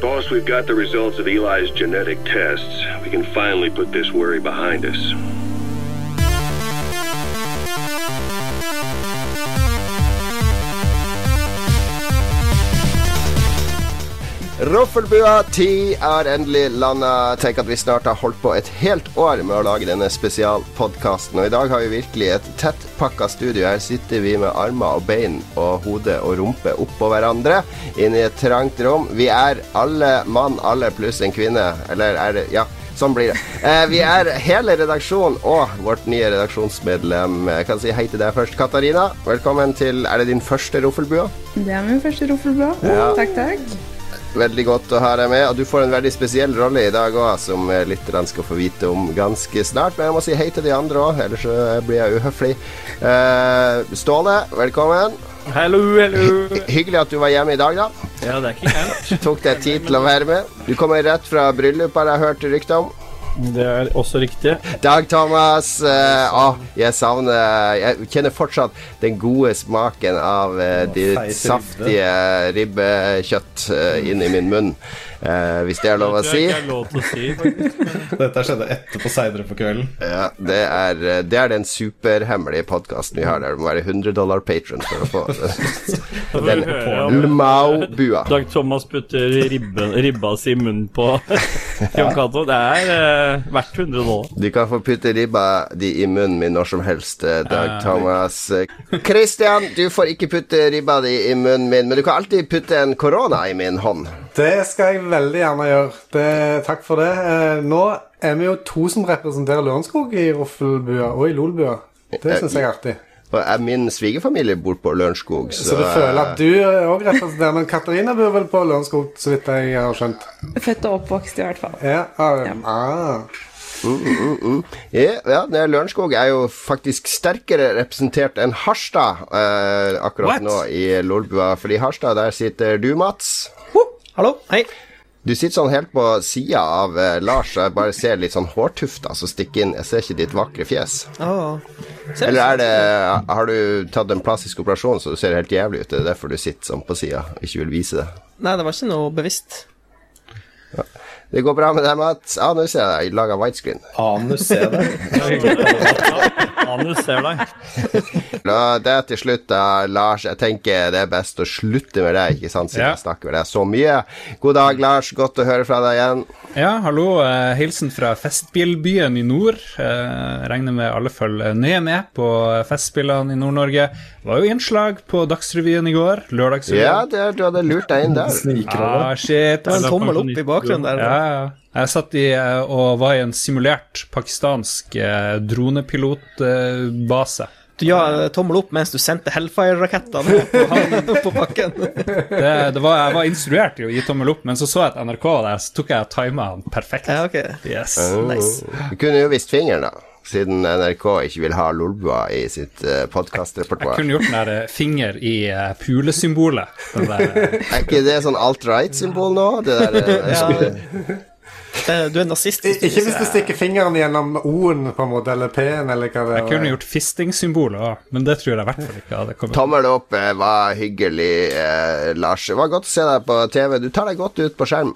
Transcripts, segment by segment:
Boss, we've got the results of Eli's genetic tests. We can finally put this worry behind us. Roffelbua 10 er endelig landa. Tenk at vi snart har holdt på et helt år med å lage denne spesialpodkasten. Og i dag har vi virkelig et tettpakka studio. Her sitter vi med armer og bein og hode og rumpe oppå hverandre inne i et trangt rom. Vi er alle mann, alle pluss en kvinne. Eller er det Ja. Sånn blir det. Eh, vi er hele redaksjonen og vårt nye redaksjonsmedlem. Jeg kan si hei til deg først, Katarina. Velkommen til Er det din første Roffelbua? Det er min første roffelblad. Ja. Takk, takk. Veldig godt å ha deg med. Og du får en veldig spesiell rolle i dag òg, som lytterne skal få vite om ganske snart. Men jeg må si hei til de andre òg, ellers så blir jeg uhøflig. Eh, Ståle, velkommen. Hallo, hallo. Hyggelig at du var hjemme i dag, da. Ja, det er ikke gærent. Tok deg tid til å være med. Du kommer rett fra bryllup, har jeg hørt rykter om. Det er også riktig. Dag Thomas. eh, Å, jeg savner Jeg kjenner fortsatt den gode smaken av eh, ditt feite saftige ribbekjøtt eh, inn i min munn. Eh, hvis det er lov å si. Det er ikke lov til å si, faktisk. Dette skjedde etterpå seinere på kvelden. Ja, det er, eh, det er den superhemmelige podkasten vi har der. Du må være 100 dollar patron for å få Da får vi den. høre om Lmao-bua. Dag Thomas putter ribben, ribba si i munnen på Jon Cato. Det er eh, verdt 100 dollar. Du kan få putte ribba di i munnen min når som helst, eh, Dag Thomas. Christian, du får ikke putte ribba di i munnen min, men du kan alltid putte en korona i min hånd. Det skal jeg veldig gjerne gjøre. Det, takk for det. Eh, Nå er vi jo to som representerer Lørenskog i Roffelbua og i Lolbua. Det syns jeg er artig. Og eh, min svigerfamilie bor på Lørenskog, så, Så du føler at du òg representerer Men Katarina bor vel på Lørenskog, så vidt jeg har skjønt. Født og oppvokst, i hvert fall. Ja, ah, ah. eh, Ja, ja, det er Lørenskog er jo faktisk sterkere representert enn Harstad eh, akkurat What? nå i Lolbua, fordi Harstad, der sitter du, Mats. Hallo, hei. Du sitter sånn helt på sida av eh, Lars, og jeg bare ser litt sånn hårtufta som stikker inn. Jeg ser ikke ditt vakre fjes. Å, Eller er det Har du tatt en plastisk operasjon så du ser helt jævlig ut? Det er derfor du sitter sånn på sida og ikke vil vise det. Nei, det var ikke noe bevisst. Det går bra med deg, Mats. Ja, nå ser jeg deg. Laga widescreen. Anus ser det. Anus ser deg. La det til slutt, da, Lars. Jeg tenker det er best å slutte med deg, ikke sant, siden Ja. jeg snakker med deg så mye. God dag, Lars. Godt å høre fra deg igjen. Ja, hallo. eh, Hilsen fra festbilbyen i nord. Eh, regner med alle følger nøye med på festspillene i Nord-Norge. Var jo innslag på Dagsrevyen i går. Ja, Lørdagsrevyen. det, du hadde lurt deg inn der. Snikrolle. ah, shit. Det var en ass. tommel opp i bakgrunnen der. Ja, ja. Jeg satt i eh, og var i en simulert pakistansk eh, dronepilotbase. Du ga eh, tommel opp mens du sendte Hellfire-rakettene opp på han- opp på bakken. Det, det var, jeg var instruert i å gi tommel opp, men så så jeg et NRK der, så tok jeg og tima han perfekt. Ja, ok. Yes. Nice. Du Oh. kunne jo vist fingeren, da. Siden NRK ikke vil ha Lolbua i sitt uh, Jeg podkastrepertoar. kunne gjort den der eh, finger i eh, pulesymbolet. Den der, eh, Er ikke det sånn alt right-symbol nå? Det der, eh, Det- Eh, Du er nazist. I- Ikke hvis du stikker fingeren gjennom O-en, på en måte, eller P-en, eller hva det Jeg kunne gjort fisting-symbolet òg, men det tror jeg i hvert fall ikke hadde kommet. Tommel opp eh, var hyggelig, eh, Lars. Det var godt å se deg på TV. Du tar deg godt ut på skjerm.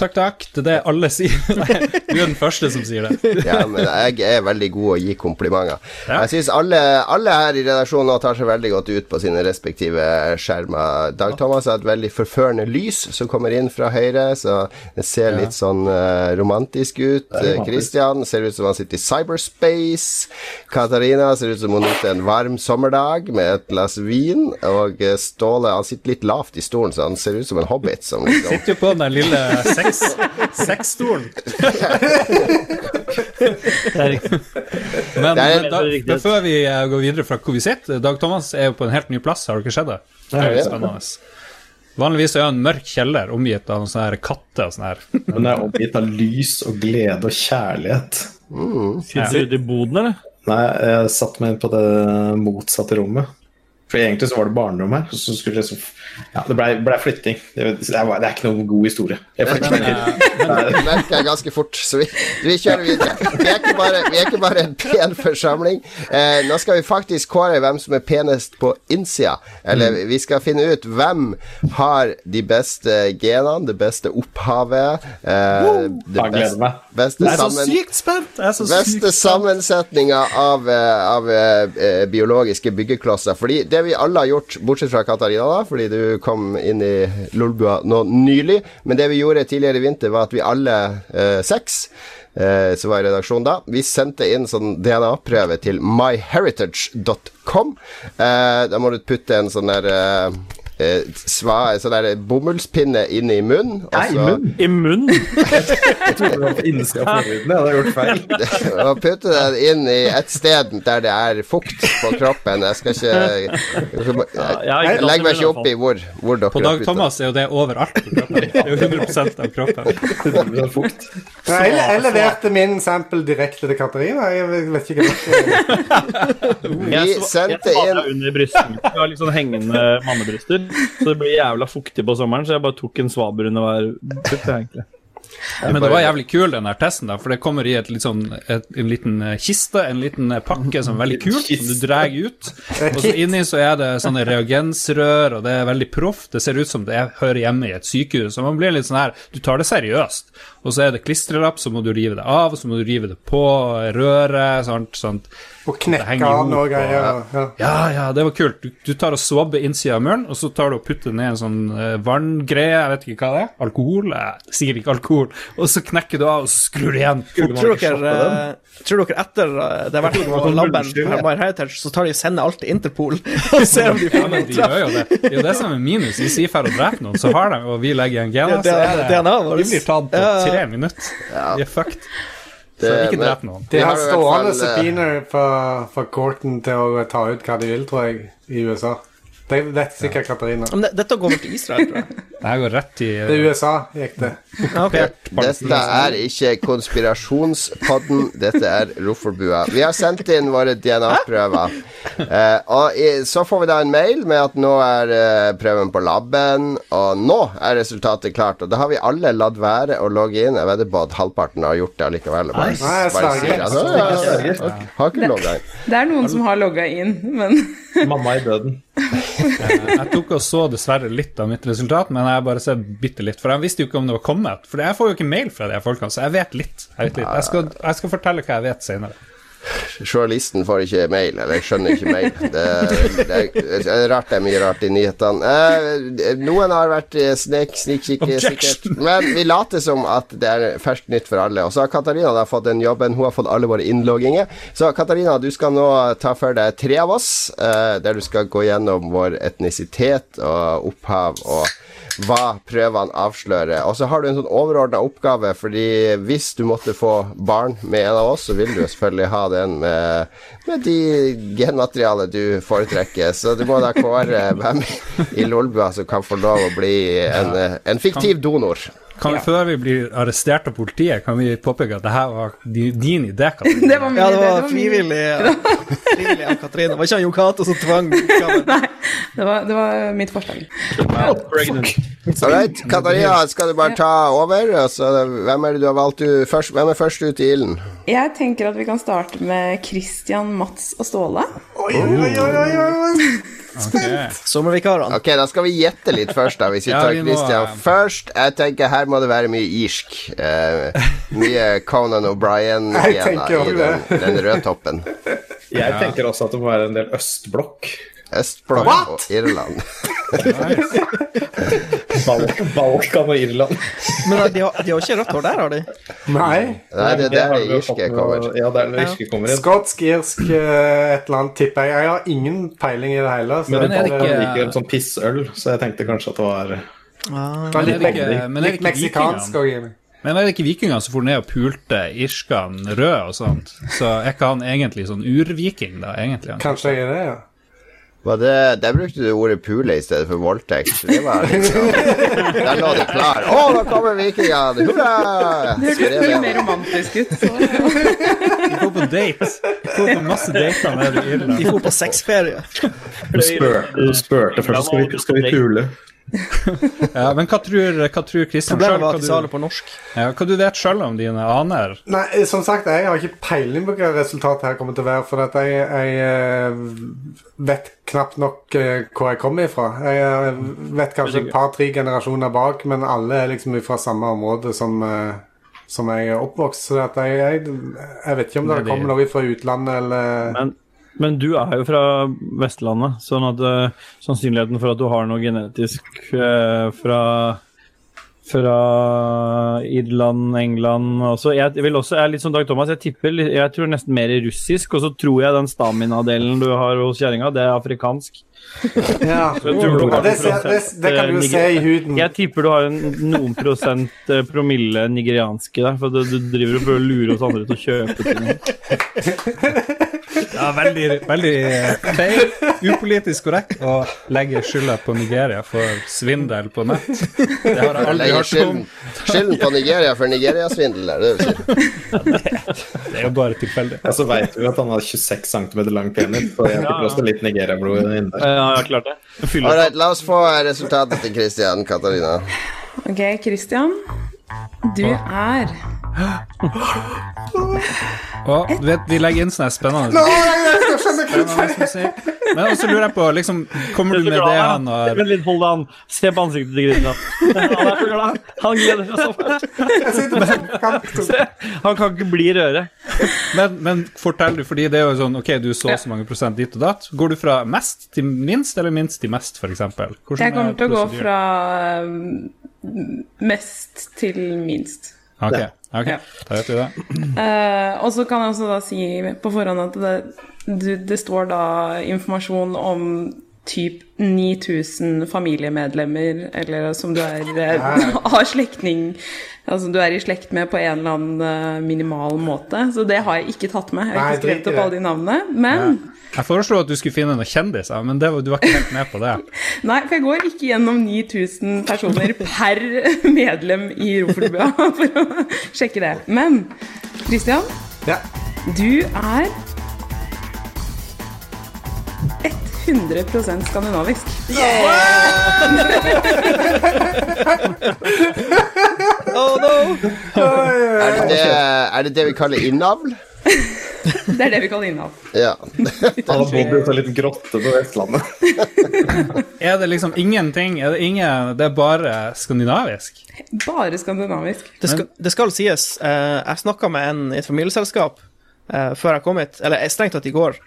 Takk, takk. Det er det alle sier. Nei, du er den første som sier det. Ja, men jeg er veldig god å gi komplimenter. Ja. Jeg syns alle, alle her i redaksjonen nå tar seg veldig godt ut på sine respektive skjermer. Dag Thomas har et veldig forførende lys som kommer inn fra høyre, så det ser litt sånn eh, romantisk ut. Eh, Christian ser ut som han sitter i cyberspace. Katarina ser ut som hun nyter en varm sommerdag med et glass vin. Og eh, Ståle, han sitter litt lavt i stolen, så han ser ut som en hobbit som liksom Sitter jo på den der lille sex- sexstolen. Det er riktig. Men, Det er- men da, da før vi eh, går videre fra hvor vi sitter Dag Thomas er jo på en helt ny plass, har du ikke sett det? Det er jo spennende. Vanligvis er han en mørk kjeller omgitt av noen sånne her katter og sånn her. Men jeg er omgitt av lys og glede og kjærlighet. Sitter du ute i boden, eller? Nei, jeg satte meg inn på det motsatte rommet. For egentlig så var det barndom her, og så skulle det så Ja, det blei ble flytting. Det, det, er, det er ikke noen god historie. Jeg flyttet meg ikke. Det merker jeg ganske fort, så vi, vi kjører videre. Vi er, ikke bare, vi er ikke bare en pen forsamling. Eh, nå skal vi faktisk kåre hvem som er penest på innsida. Eller Mm. vi skal finne ut hvem har de beste genene, det beste opphavet, eh, det Jeg gleder meg. beste Jeg er så sammen... sykt spent! Jeg er så sykt Beste sammensetninga av, eh, av eh, eh, biologiske byggeklosser. Fordi det vi alle har gjort, bortsett fra Katarina, da, fordi du kom inn i Lolbua nå nylig, men det vi gjorde tidligere i vinter, var at vi alle eh, seks eh, som var i redaksjonen da, vi sendte inn sånn DNA-prøve til myheritage.com. Eh, da må du putte en sånn der eh, eh, sva, en sånn der bomullspinne inn i munnen. altså- og Nei, så- munn. I munnen? Jeg trodde det var på innsida av forhuden. Jeg hadde gjort feil. og putte den inn i et sted der det er fukt på kroppen. Jeg skal ikke Jeg, jeg er glad legger meg for det, ikke opp i hvor, hvor dere På har Dag puttet. Thomas er jo det overalt på kroppen. Det er jo 100 av kroppen. Det var sånn fukt. Nei, Jeg, jeg leverte min sample direkte til Katarina. Jeg vet ikke hva Vi sendte jeg svada inn under brystene. Jeg har litt sånn hengende mannebryster, så det blir jævla fuktig på sommeren, så jeg bare tok en svaber under hver bryst, egentlig. Men det var jævlig kul, den der testen, da, for det kommer i et litt sånn, et, en liten eh, kiste, en liten eh, pakke som er veldig kul, som du drar ut. Og så inni så er det sånne reagensrør, og det er veldig proft. Det ser ut som det er, hører hjemme i et sykehus. Og man blir litt sånn her Du tar det seriøst. Og så er det klistrelapp, så må du rive det av, og så må du rive det på røret, sant, sant. Og Det knekke henger av noe ihop, greier. og- Ja. Ja, ja, det var kult. Du, du tar og svabber innsida av muren, og så tar du og putter ned en sånn eh, vanngreie, jeg vet ikke hva det er, alkohol? Eh, sikkert ikke alkohol. Og så knekker du av og skrur igjen. Tror dere, eh, tror dere etter eh, det har vært på labben fra My Heritage, så tar de og sender alt til Interpol og ser om de Ja, finner men de gjør jo det. Det er jo det som er minus. Hvis vi drar og dreper noen, så har de, og vi legger igjen Ja, gener, det så er er det, DNA vårt. de blir tatt på Ja, ja. tre minutter. De er fucked. Så Det- ikke men- drep noen. De Vi har har i hvert stående fall, eh, subpoenaer fra, fra courten til å ta ut hva de vil, tror jeg, i USA. Det vet sikkert Katarina. Men det, dette går vel til Israel, tror jeg. Det her går rett i Det er USA gikk det. Ja, ok. Dette er ikke konspirasjonspodden, dette er Roffelbua. Vi har sendt inn våre DNA-prøver. Eh, og i, så får vi da en mail med at nå er eh, prøven på laben, og nå er resultatet klart. Og da har vi alle latt være å logge inn. Jeg vedder på at halvparten har gjort det allikevel. og Bare, Nei, jeg bare sverger. sier, altså, Jeg sverger. har- har ikke logga inn. Det er noen som har logga inn, men Mamma i døden. Jeg tok og så dessverre litt av mitt resultat, men jeg har bare sett bitte litt. For jeg visste jo ikke om det var kommet. For jeg får jo ikke mail fra de her folkene, så jeg vet litt. Jeg, vet litt. jeg, skal, jeg skal fortelle hva jeg vet senere. Journalisten får ikke mail, eller skjønner ikke mail. Det, det, er rart det er mye rart i nyhetene. Eh, noen har vært eh, snek, snikkikker, sikkert. Objection. Men vi later som at det er ferskt nytt for alle. Og så har Katarina da fått den jobben, hun har fått alle våre innlogginger. Så Katarina, du skal nå ta for deg tre av oss, eh, der du skal gå gjennom vår etnisitet og opphav og hva prøvene avslører. Og så har du en sånn overordna oppgave, fordi hvis du måtte få barn med en av oss, så vil du jo selvfølgelig ha den med, med de genmaterialet du foretrekker. Så du må da kåre hvem i Lolbua som kan få lov å bli en, eh, en fiktiv donor. Kan, Før vi blir arrestert av politiet, kan vi påpeke at det her var di- din idé, Katrine. det var min Ja, det idé, var min- frivillig, ja. frivillig av Katrine. Det var ikke han Jon Cato som tvang oppgaven. Det var, det var mitt forslag. All right, Katarina, skal du bare ta over? Altså, hvem er det du har valgt du først? Hvem er først ut i ilden? Jeg tenker at vi kan starte med Christian, Mats og Ståle. Ok. Sommervikarene. Ok, da skal vi gjette litt først, da, hvis vi Ja, tar vi må, Christian eh, først. Jeg tenker her må det være mye irsk. Eh, mye Conan O'Brien Jeg igjen da, tenker i også den, den rødtoppen. Jeg tenker også at det må være en del østblokk. Østblokk og Irland. Nice. Bal Balkan og Irland. Men eh, de har, de har ikke rødt hår der, har de? Nei. Nei, det er der det irske kommer. Ja, det er det irske kommer inn. Skotsk, irsk, eh, et eller annet, tipper jeg. Jeg har ingen peiling i det hele. Så Men Men er det Italia ikke- liker en sånn pissøl, så jeg tenkte kanskje at det var Det er Men er litt, det ikke, men er det litt ikke meksikansk vikingene? òg inni. Men er det ikke vikingene som for ned og pulte irskene røde og sånt? Så er ikke han egentlig sånn urviking, da, egentlig? Han. Kanskje jeg er det, ja. Var det, der brukte du ordet pule i stedet for voldtekt. Det var liksom Der lå det klar. Å, nå kommer vikingene! Hurra! Det hørtes mye mer romantisk ut. Så. Vi går på på date. Dro på masse dater nede i De Irland. dro på sexferie. Hun spør- hun spurte først skal vi, skal vi pule. Ja, men hva tror, hva tror Christian Problemet sjøl? var at de sa Hva, det på norsk. du- ja, hva du vet sjøl om dine aner? Nei, eh, som sagt, jeg har ikke peiling på hva resultatet her kommer til å være, for at jeg, jeg eh, vet knapt nok eh, hvor jeg kommer ifra. Jeg eh, vet kanskje et par-tre generasjoner bak, men alle er liksom fra samme område som, eh, som jeg er oppvokst. Så at jeg, jeg, jeg vet ikke om det Nedi- kommer noe fra utlandet eller Men, men du er jo fra Vestlandet, sånn at eh, sannsynligheten for at du har noe genetisk eh, fra fra Irland, England også. Jeg vil også, jeg er litt som Dag Thomas, jeg tipper litt- Jeg tror nesten mer russisk, og så tror jeg den stamina-delen du har hos kjerringa, det er afrikansk. Ja, Jeg tror du har det, en ser, det, prosent, det kan eh, du jo niger- se i huden. Jeg tipper du har en, noen prosent eh, promille nigerianske der, for du, du driver og prøver å lure oss andre til å kjøpe ting. Ja, veldig, veldig eh, feil, upolitisk korrekt å legge skylda på Nigeria for svindel på nett. Det har jeg aldri Legger hørt om. skylden, skylden på Nigeria for Nigeria-svindel, er det det du sier? Det er jo bare tilfeldig. Ja, så veit vi at han har 26 cm lang penis, så jeg fikk også litt Nigeria-blod inni der. Ja, jeg har klart det. Fyller All right, la oss få resultatet til Christian Katarina. Ok, Christian. Du er Og du vet, de legger inn sånne spennende Spennende musikk. Men også lurer jeg på, liksom, kommer du med det han har Vent litt, hold det an. Se på ansiktet til Christian. Han er så glad. Han gleder seg så fælt. Jeg sitter på soppkant. Han kan ikke bli røre. men, men fortell du, fordi det er jo sånn Ok, du så så mange prosent dit og datt. Går du fra mest til minst, eller minst til mest, f.eks.? Jeg kommer til å gå fra eh, mest til minst. Ok, ok, Ja. da vet vi det. Eh, og så kan jeg også da si på forhånd at det, du, det står da informasjon om typ 9000 familiemedlemmer, eller som du er eh, har slektning Altså du er i slekt med på en eller annen eh, minimal måte. Så det har jeg ikke tatt med. Jeg har Nei, ikke skrevet drit i opp det. alle de navnene. Men Jeg foreslo at du skulle finne noen kjendiser, men det var, du var ikke helt med på det. Nei, for jeg går ikke gjennom 9000 personer per medlem i Rofelbua for å sjekke det. Men Christian, Ja. du er 100 skandinavisk. Oh no! Er det det, er det, det vi kaller innavl? Det er det vi kaller innavl. Ja. Han har bodd i en sånn liten grotte på Vestlandet. Er det liksom ingenting? Er det ingen Det er bare skandinavisk? Bare skandinavisk. Det skal, det skal sies. eh, jeg snakka med en i et familieselskap eh, før jeg kom hit, eller eh, strengt tatt i går,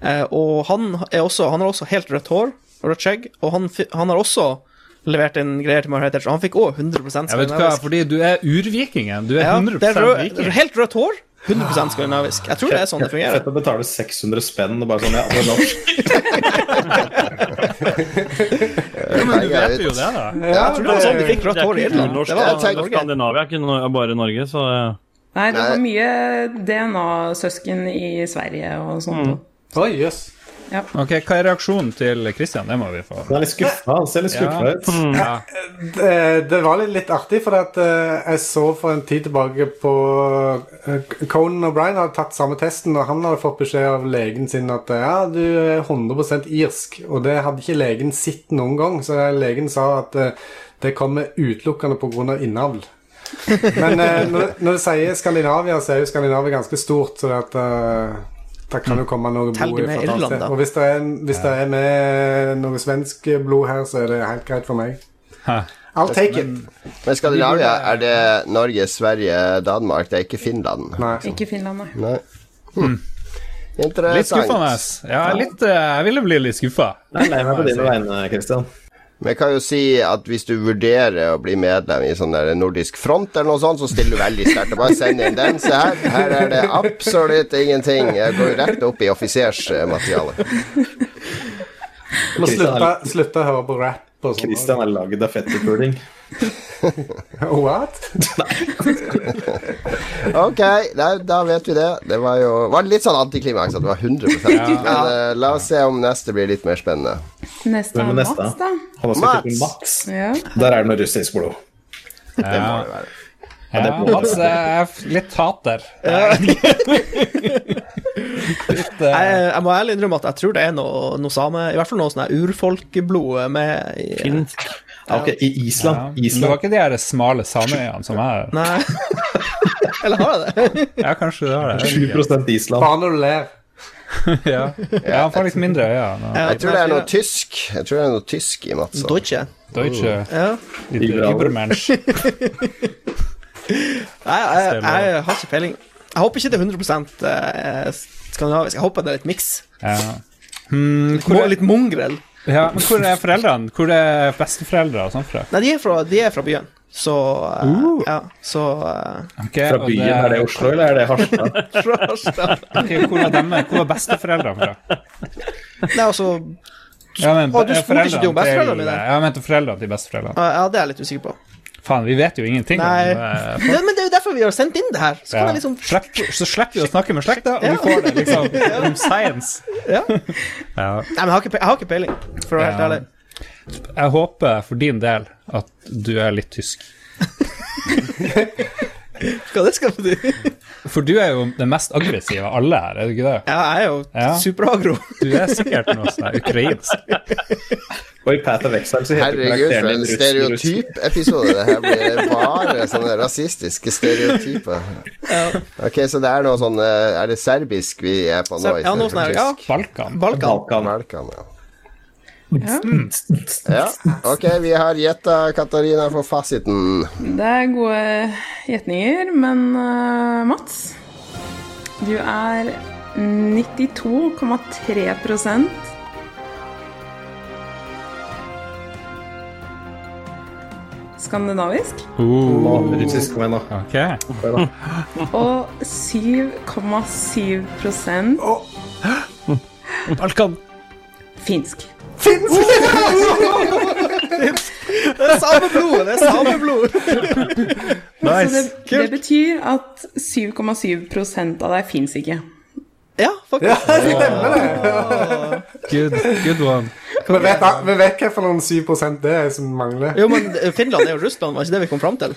Eh, og han, er også, han har også helt rødt hår og rødt skjegg, og han, fi- han har også levert inn greier til Margaret Thatcher, og han fikk òg 100 Jeg vet hva, skandinavisk. fordi du er urvikingen. Du er Ja, 100 det er rød, viking. helt rødt hår, 100 skandinavisk. Jeg tror det er sånn det fungerer. Fett å betale 600 spenn og bare sånn, ja, det er norsk. Ja, men du Penger vet ut. jo det, da. Ja, Jeg tror det var sånn de fikk rødt hår i Irland. norsk. Det var sånn Jeg tenker- Norge. Skandinavia er ikke no- er bare Norge, så eh, Nei, det var Nei. mye DNA-søsken i Sverige og sånt. Oi, jøss. Ok, Hva er reaksjonen til Christian? Det må vi få. Han er litt skuffa. Han ser litt skuffa ut. Ja. Mm. Det, Eh, det var litt, litt artig, for at eh, jeg så for en tid tilbake på eh, Conan O'Brien hadde tatt samme testen, og han hadde fått beskjed av legen sin at eh, ja, du er 100 irsk. Og det hadde ikke legen sett noen gang, så legen sa at eh, det kommer utelukkende pga. innavl. Men eh, når, når du sier Skandinavia, så er jo Skandinavia ganske stort, så det at eh, der kan jo komme noe Tell blod det med fra et annet Irland, sted. da. Og hvis det, er, hvis det er med noe svensk blod her, så er det helt greit for meg. Hæ. I'll take it. Men Skandinavia, er det Norge, Sverige, Danmark? Det er ikke Finland? Nei. Ikke Finland, nei. Nei. Hm. Litt Interessant. skuffende. Ja, litt, eh, jeg ville bli litt skuffa. Jeg er lei meg på dine vegne, Christian. Men jeg kan jo si at hvis du vurderer å bli medlem i sånn der nordisk front eller noe sånt, så stiller du veldig sterkt. Bare send inn den. Se her. Her er det absolutt ingenting. Jeg går jo rett opp i offisersmaterialet. Må slutte, slutte å høre på rap og sånn. Christian er lagd av fetterpuling. What? Ok, nei, da vet vi det. Det var jo var litt sånn antiklimaks at det var 100 Men eh, la oss se om neste blir litt mer spennende. Neste Hvem er er neste? Mats, da. Han har Mats! skrevet Mats. Ja. Der er det noe russisk blod. Det må det være. Ja, det er på- Mats er f- litt hater. Eh, litt, eh, Jeg, jeg må ærlig innrømme at jeg tror det er noe, noe same I hvert fall noe sånn her urfolkblod med i, Finsk. Ja, Ah, ok, I ja. Island. Det var Island. ikke de her smale sameøyene som jeg Nei. Eller har jeg det? Ja, kanskje det var det. 7 Island. Bare når du ler. Ja, ja han får litt mindre øyne. Ja. Ja, Jeg tror det er noe tysk Jeg tror det er noe tysk i Mats. altså. Deutsche. Deutsche Ja. Übermensch. Nei, jeg, jeg, jeg har ikke peiling. Jeg håper ikke det er 100 eh, skandinavisk. Jeg håper det er litt miks. Ja. Hmm, Litt, hvor, mo- litt mongrel. ja, men hvor er foreldrene? Hvor er besteforeldre og sånn fra? Nei, de er fra, de er fra byen. Så eh, Uh. Ja, så eh, Ok, Fra og byen, er det Oslo, eller er det Harstad? fra Harstad. ok, hvor er dem- hvor er besteforeldrene fra? Nei, altså Ja, men, Å, du spurte er ikke foreldrene om besteforeldrene til- mine? Ja, jeg mente foreldrene til besteforeldrene. Ja, det er jeg litt usikker på. Faen, vi vet jo ingenting Nei. om eh, Det, men det er jo derfor vi har sendt inn det her. Så kan Ja. jeg liksom Slipp, så slipper vi å snakke med slekta, og vi Ja. får det liksom om science. Ja. Ja. Nei, men jeg har ikke, pe- jeg har ikke peiling, for å være helt Ja. ærlig. Jeg håper for din del at du er litt tysk. Hva det skal bety? For du er jo den mest aggressive av alle her, er du ikke det? Ja, jeg er jo Ja. superagro. Du er sikkert noe sånn her ukrainsk. Og i Path of Exile så heter Herregud, for karakteren en din russ- russ. stereotypepisode. Det her blir bare sånne rasistiske stereotyper. Ok, så det er noe sånn eh, Er det serbisk vi er på nå? Så, ja, noe sånn her. Ja, Balkan. Balkan. Balkan. Balkan, ja. ja. Ok, vi har gjetta Katarina for fasiten. Det er gode gjetninger, men eh, Mats Du er 92,3 skandinavisk Oh, Å, Russisk, kom igjen, da. ok. og 7,7 Balkan. finsk. Det er samme blod! Det er samme blod! Så det, det betyr at 7,7 av deg fins ikke. Ja, faktisk. Good, good one. Vi vet, vi vet hva for noen 7 det er som mangler. Jo, men Finland er jo Russland, var ikke det vi kom fram til?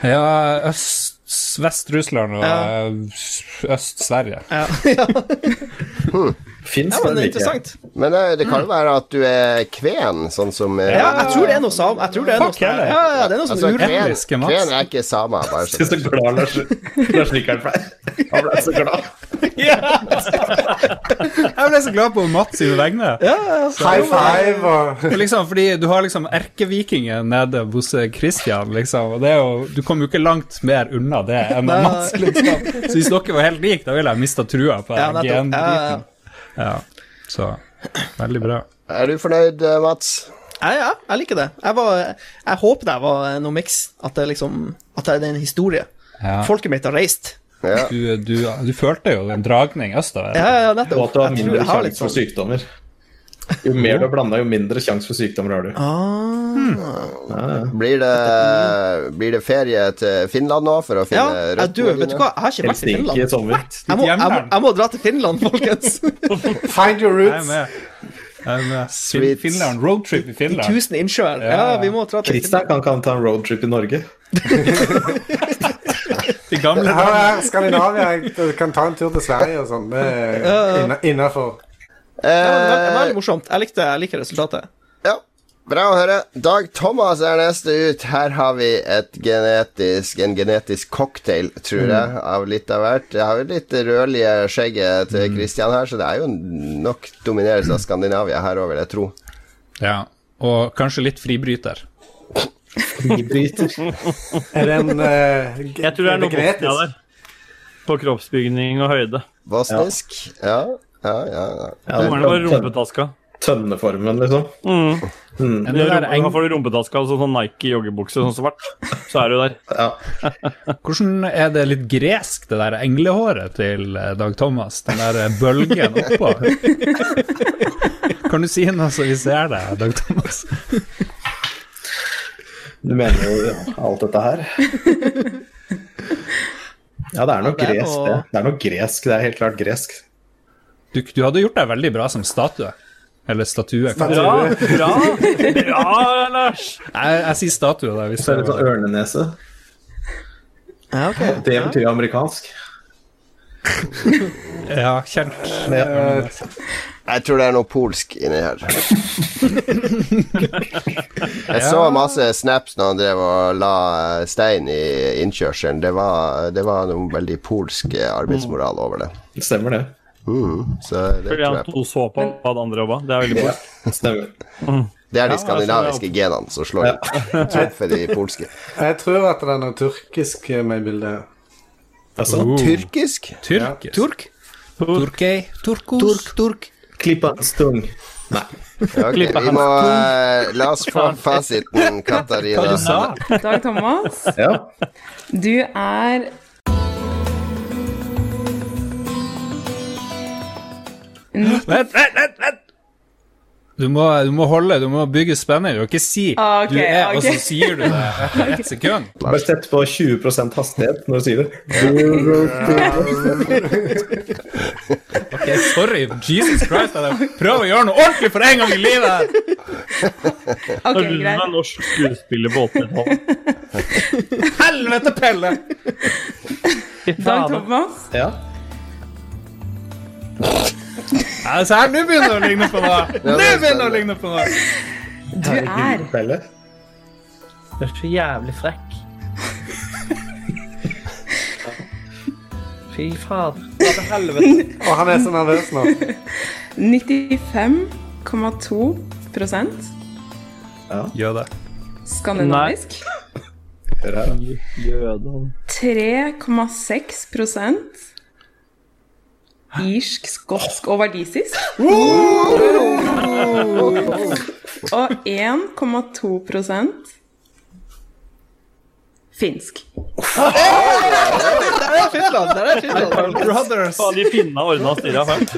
Ja, øst, Vest-Russland og Ja. eh, Øst-Sverige. Ja, ja. Finns, ja men det er interessant. Men eh, det kan jo være at du er kven, sånn som eh, Ja, jeg tror det er noe sam... Jeg tror det er noe Fuck, sånn heller. ja, ja, det er noe sånn Altså, ur... kven, etniske, Mats. kven er ikke samer, bare Jeg er sånn. så glad Lars, Lars Rikard ble. Han ble så glad. Jeg ble så glad på Mats sine vegne. High five og For Liksom, fordi du har liksom erkevikingen nede hos eh, Christian, liksom, og det er jo, du kommer jo ikke langt mer unna det enn Nei. Mats, liksom. Så hvis dere var helt like, da ville jeg mista trua på Ja, ja, nettopp. Ja, gendriten. Ja, så veldig bra. Er du fornøyd, eh, Mats? Ja, ja, jeg liker det. Jeg, var, jeg håper det var noe miks. At det liksom At det er en historie. Ja. Folket mitt har reist. Ja. Du, du, du følte jo en dragning østover. Ja, ja, Og at nettopp. du har Jeg tror mindre jeg har litt sjanse for sånn sykdommer. Jo mer du har blanda, jo mindre sjanse for sykdommer har du. ah. Blir det, blir det ferie til Finland nå for å Ja, finne ja, du, vet du hva, jeg har ikke vært Helst i ikke i Finland. sommer. Jeg må, jeg, må, Hjemland. jeg må dra til Finland, folkens. Find your Jeg er roots. med. Jeg er med. Fin Sweet. Finland, roadtrip i Finland. Tusen innsjøer. Ja, Ja, ja. vi må dra til Kristian Finland. kan, kan ta en roadtrip i Norge. De gamle Her dager. er Skandinavia. Jeg kan ta en tur til Sverige og sånn. Det er innafor. Ja, men det var Eh, veldig morsomt. Jeg, likte, jeg liker resultatet. ja, bra å høre. Dag Thomas er neste ut. Her har vi et genetisk, en genetisk cocktail, Mm. tror jeg, av litt av hvert. Jeg har jo litt rødlige skjegget Mm. til Christian her, så det er jo nok dominerelse av Skandinavia her òg, vil jeg tro. Ja, og kanskje litt fribryter. Er det en eh, g- Jeg tror det er noe genetisk? Bosnia der. På kroppsbygning og høyde. Bosnisk? Ja. Ja, ja, ja. Nå er det bare rumpetaska. Tønneformen, liksom. Mm. Det er rumpe- Da får du rumpetaska og så sånn Nike joggebukse, sånn svart. Så er du der. Hvordan er det litt gresk, det der englehåret til eh, Dag Thomas? Den der eh, bølgen oppå? Kan du si noe så vi ser det, Dag Thomas? Du mener jo ja, alt dette her. Ja, det er noe det er gresk, noe- det. Det er noe gresk, det er helt klart gresk. Du, du hadde gjort deg veldig bra som statue. Eller statue. kanskje. Bra, bra, bra, Lars! Jeg, jeg sier statue, da. Hvis Så er det det litt sånn ørnenese. Ja, ok. Det betyr amerikansk. Ja, kjent. Eh, Jeg tror det er noe polsk inni her. Jeg så masse snaps når han drev og la eh, stein i innkjørselen. Det var, det var noe veldig polsk eh, arbeidsmoral over det. Det stemmer, det. Mhm, så det Fordi tror han jeg på. to så på hva de andre jobba. Det er veldig bra. Ja, stemmer. Det er Ja, de jeg så det skandinaviske opp. genene som slår inn. Trumfer de polske. Jeg tror at det er noe tyrkisk eh, med i bildet. Altså, Oh. Tyrkisk? Tyrk. Turk? Turkey. Turkos. Turk, turk. klippa stung. Nei. Ok, vi må eh, La oss få fasiten, Katarina. Dag Thomas, Ja. du er Vent, vent, vent! vent. Du må, du må holde, du må bygge spenning. Du kan ikke si Ah, ok, du er, og så ok. sier du det etter ett sekund. Bare sett på 20 hastighet når du sier det. Ok, Sorry, Jesus Christ. Jeg prøver å gjøre noe ordentlig for en gang i livet! her. Ok, Når du er greit. norsk skuespiller på 80-tallet Helvete, Pelle! Fy Dag faen. Thomas, Ja. Ja, Se her, nå begynner det å ligne på noe! Nå sånn. begynner det å ligne på noe! du er Pelle. Du er så jævlig frekk. Fy fader. Og han er så nervøs nå. 95,2 Gjør det. skandinavisk. Hør her, da. Jødene. 3,6 irsk, skotsk og walistisk. Og 1,2 finsk. Der er Finland! Der er Finland. Brothers. Faen, de finna ordna styra først.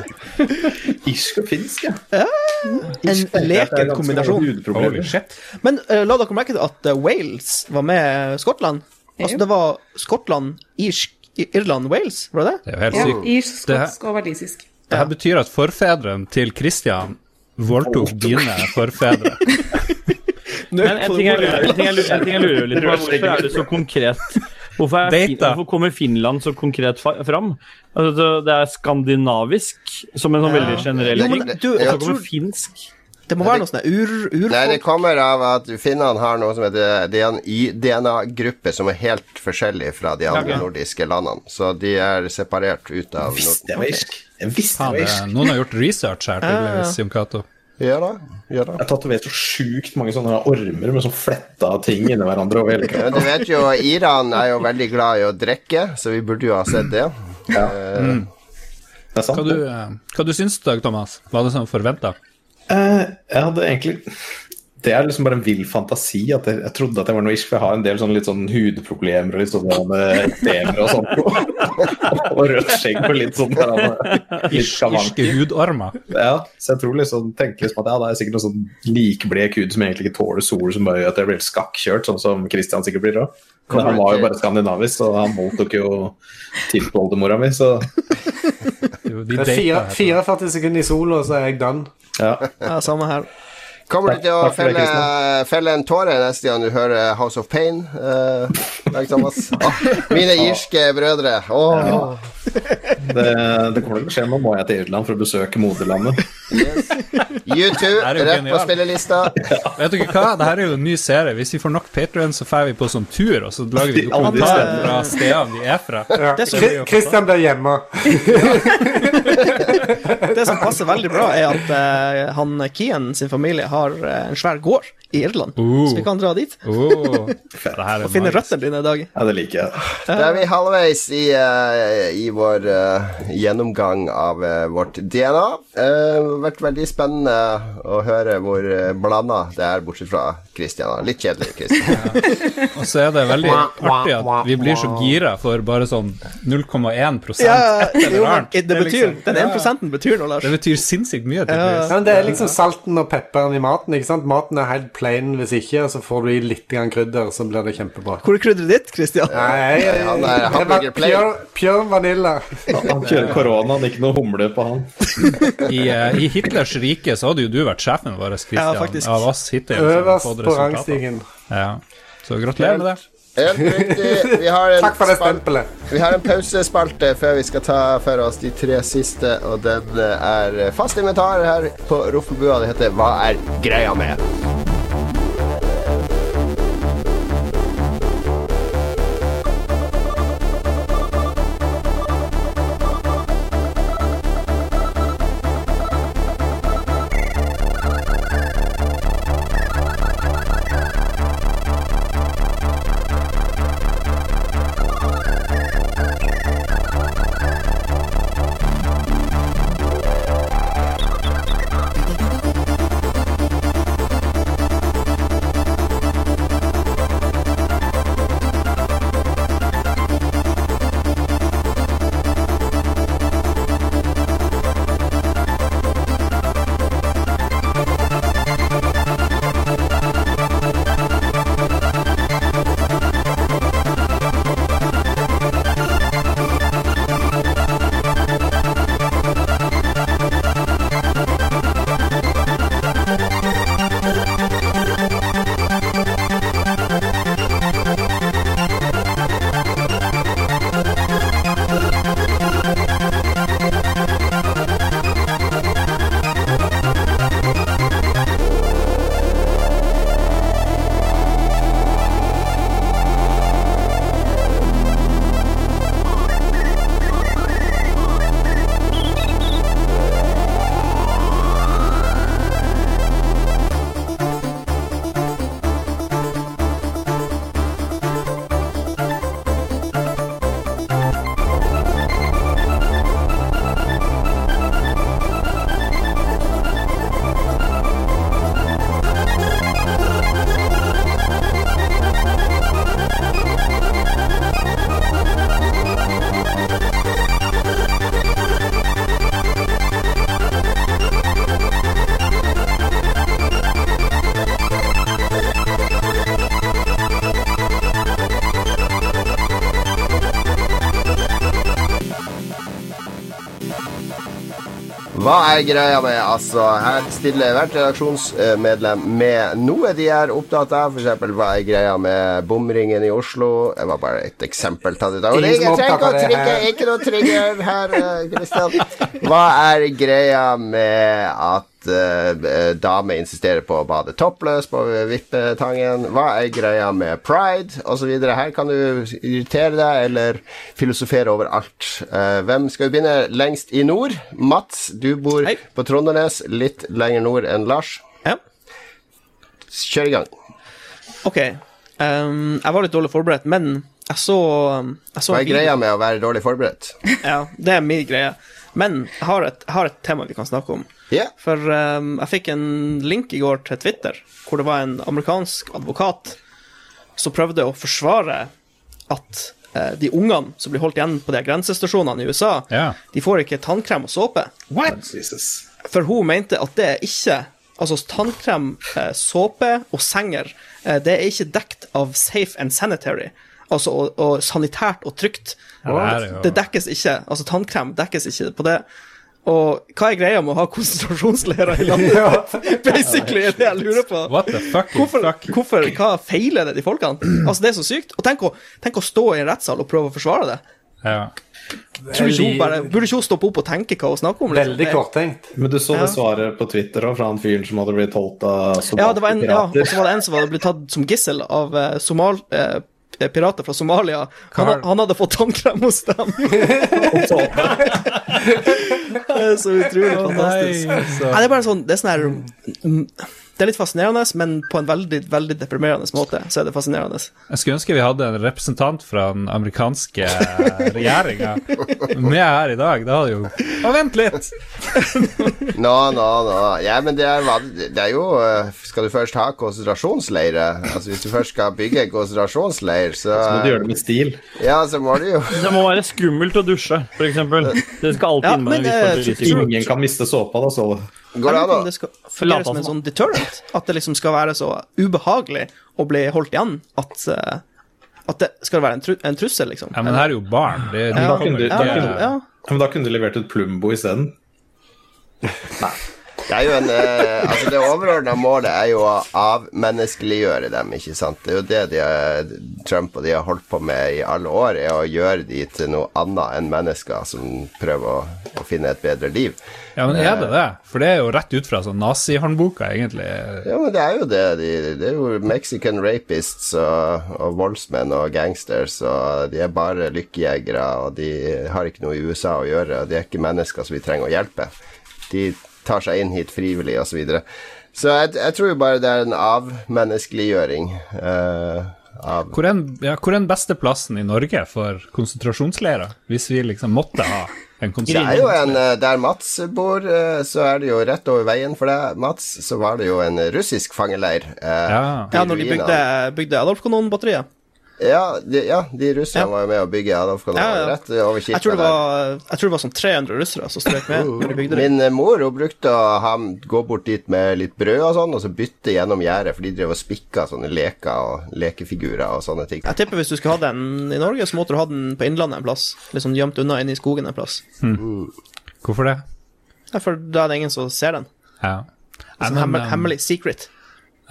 Irsk og finsk, ja. En leken kombinasjon. Holy Hudproblemer. shit. Men eh, la dere merke til at eh, Wales var med Skottland. Altså, Ja. det var Skottland, Irsk, I- Irland, Wales, var det det? Det er jo helt Ja, sykt. irsk, Det her- skotsk og walisisk. Det her betyr at forfedrene til Christian voldtok dine forfedre. Men en ting jeg lurer, en ting jeg lurer, en ting jeg lurer litt på, Rød hvorfor er det så konkret? Hvorfor, er Date, Fin- da. hvorfor kommer Finland så konkret fa- fram? Altså, det er skandinavisk som en sånn veldig generell Jo, men ting. du, Og så jeg kommer tror- finsk. Det må være noe sånn der ur, Nei, det urfolk. kommer av at finnene har noe som heter eh, DNA-grupper som er helt forskjellig fra de andre Ja, ok. nordiske landene. Så de er separert ut av Norden. Visste jeg var irsk? Jeg visste Faen, jeg var det, irsk. noen har gjort research her, tydeligvis, Jon Cato. Ja da. Ja da. Jeg har tatovert så sjukt mange sånne ormer med sånn fletta ting inni hverandre over hele Men kroppen. du vet jo, Iran er jo veldig glad i å drikke, så vi burde jo ha sett det. Ja. Det er sant. Hva, du, eh, hva du syns du, Dag Thomas? Var det sånn som forventa? Eh, jeg hadde egentlig Det er liksom bare en vill fantasi. At jeg, jeg trodde at jeg var noe irsk, for jeg har en del sånn litt sånn hudproblemer og litt sånn eh, ekdemer og sånn. og rødt skjegg og litt sånn der, eh, litt Irske skavanker. hudormer? Ja, så jeg tror liksom, tenkte liksom at ja, det er sikkert noen sånn likblek hud som egentlig ikke tåler sol, som bare gjør at jeg blir helt skakkjørt, sånn som Christian sikkert blir òg. Men han var jo bare skandinavisk, så han voldtok jo tippoldemora mi, så Jo, Det de er data fire, heter 44 det. sekunder i sola, så er jeg done. ja. Ja, samme her. Kommer du til å Takk for det, felle, felle en tåre neste gang du hører House of Pain? eh, Dag Thomas? Å, mine irske brødre. Åh. Det, det kommer til å skje. Nå må jeg til Irland for å besøke moderlandet. U2, er jo rett på genialt. spillelista. Vet dere hva? Dette er jo en ny serie. Hvis vi får nok Patrion, så drar vi på sånn tur, og så lager vi Alle de dokumentarer stedene. fra stedene de er fra. Ja. Det er så- Kri- Christian blir hjemme. Det som passer veldig bra, er at eh, han Kian sin familie har eh, en svær gård i Irland, Oh. så vi kan dra dit Oh, det her er og finne nice. røttene dine i dag. Ja, det liker jeg. Da er vi halvveis i, eh, i vår eh, gjennomgang av eh, vårt DNA. Det har Eh, vært veldig spennende å høre hvor uh, blanda det er, bortsett fra Christian. Litt kjedelig, Christian. Og så er det veldig artig at vi blir så gira for bare sånn 0,1 Ja, et jo, eller men annet. det er betyr, liksom- den Ja, ja. 1 betyr noe, Lars. Det betyr sinnssykt mye, tydeligvis. Ja, men det er liksom salten og pepperen i maten. ikke sant? Maten er helt plain hvis ikke, og så får du i litt grann krydder, så blir det kjempebra. Hvor er krydderet ditt, Christian? Nei, han er det var hamburger plain. pure, pure vanilla. Han kjører koronaen, ikke noe humle på han. I, eh, I Hitlers rike så hadde jo du vært sjefen vår, Christian. Ja, faktisk. av oss hittil. som har Øverst fått på resultater. rangstigen. Ja. Så gratulerer med det. Helt riktig. Vi har en, Takk for det spal- stempelet. vi har en pausespalte før vi skal ta for oss de tre siste, og den eh, er fast inventar her på Roffelbua. Det heter Hva er greia med? Hva er greia med, altså? Her stiller hvert redaksjonsmedlem med noe de er opptatt av. F.eks. hva er greia med bomringen i Oslo? Det var bare et eksempel tatt ut av Og det er Ingen ikke- som trenger ikke er opptatt å av det trigge, her. ikke noe trigger her, eh, Christian. Hva er greia med at eh, damer insisterer på å bade toppløs på Vippetangen? Hva er greia med pride, osv.? Her kan du irritere deg eller filosofere over alt. Eh, hvem skal vi begynne lengst i nord? Mats, du bor Hei. på Trondenes, litt lenger nord enn Lars. Ja. Kjør i gang. OK. Ehm, jeg var litt dårlig forberedt, men jeg så, jeg så Hva er en video- greia med å være dårlig forberedt? Ja, det er min greie. Men jeg har et, jeg har et tema vi kan snakke om. Ja. For ehm, jeg fikk en link i går til Twitter, hvor det var en amerikansk advokat som prøvde å forsvare at eh, de ungene som blir holdt igjen på de her grensestasjonene i USA, Ja. de får ikke tannkrem og såpe. Jesus. For hun mente at det er ikke Altså, tannkrem, eh, såpe og senger, eh, det er ikke dekt av safe and sanitary. Altså og, og sanitært og trygt. Ja, det er jo- Det dekkes ikke. Altså, tannkrem dekkes ikke på det. Og hva er greia med å ha konsentrasjonsleirer i landet? Ja. Basically er det jeg lurer på. What the fuck? Hvorfor, hvorfor, hva feiler det de folkene? Altså, det er så sykt. Og tenk å, tenk å stå i en rettssal og prøve å forsvare det. Ja. Tror ikke hun bare, burde ikke hun stoppe opp og tenke hva hun snakker om? liksom? Veldig Det- korttenkt. Men du så det svaret på Twitter også, fra han fyren som hadde blitt holdt av Ja, det var en, ja, og pirater. så var det en som hadde blitt tatt som gissel av eh, Somal... eh, Pirater fra Somalia. Han, Carl. han hadde fått tannkrem hos dem. det er så utrolig fantastisk. Nei, så- Nei, det er bare sånn Det er sånn her mm, Det er litt fascinerende, men på en veldig, veldig deprimerende måte, så er det fascinerende. Jeg skulle ønske vi hadde en representant fra den amerikanske regjeringa med her i dag. Det hadde jo Å, vent litt! Nå, nå, nå. Ja, men det er, van- det er jo eh, Skal du først ha konsentrasjonsleire Altså, hvis du først skal bygge en konsentrasjonsleir, så Så må du gjøre det med stil. Ja, så må du jo Det må være skummelt å dusje, f.eks. Det skal alltid Ja, inn med en viss men, eh, form for risiko. Ingen kan miste såpa, da, så du. Går det Jeg lurer an på om å det skal fungere Lata som en som. sånn deterrent? At det liksom skal være så ubehagelig å bli holdt igjen at, eh, at det skal være en, tru en trussel, liksom? Ja, men her er jo barn. Det, de Ja, kommer da ikke kunne du- ja, ja. Men da kunne du levert ut Plumbo isteden. Det er jo en eh, Altså, det overordna målet er jo å avmenneskeliggjøre dem, ikke sant. Det er jo det de, har- Trump og de har holdt på med i alle år, er å gjøre de til noe annet enn mennesker som prøver å, å finne et bedre liv. Ja, men er det det? For det er jo rett ut fra sånn nazihåndboka, egentlig. Ja, men det er jo det. De, det er jo Mexican rapists og, og voldsmenn og gangsters, og de er bare lykkejegere, og de har ikke noe i USA å gjøre, og de er ikke mennesker som vi trenger å hjelpe. De tar seg inn hit frivillig, og Så, videre. så jeg, jeg tror jo bare det er en avmenneskeliggjøring eh, av Hvor er, den- ja, hvor er den beste plassen i Norge for konsentrasjonsleirer, hvis vi liksom måtte ha en Det er jo konsentrasjonsleir? en, eh, Der Mats bor, eh, så er det jo rett over veien for deg, Mats, så var det jo en russisk fangeleir. eh, Ja. Ja, når de ruinene. bygde, bygde Adolf-kanonbatteriet. Ja, de, ja, de russerne Ja. var jo med å bygge Adolfkanalen Ja, ja. rett over Jeg tror, kirka det var, jeg tror det var sånn 300 russere som strøk med når de bygde der. det. Min eh, mor hun brukte å ha, gå bort dit med litt brød og sånn, og så bytte gjennom gjerdet, for de drev og spikka sånne leker og lekefigurer og sånne ting. Jeg tipper hvis du skulle ha den i Norge, så måtte du ha den på Innlandet en plass. Litt sånn gjemt unna inne i skogen en plass. Hvorfor det? Ja, For da er det ingen som ser den. Ja. Nei, Altså, Sånn men, hemmel, um, hemmelig secret.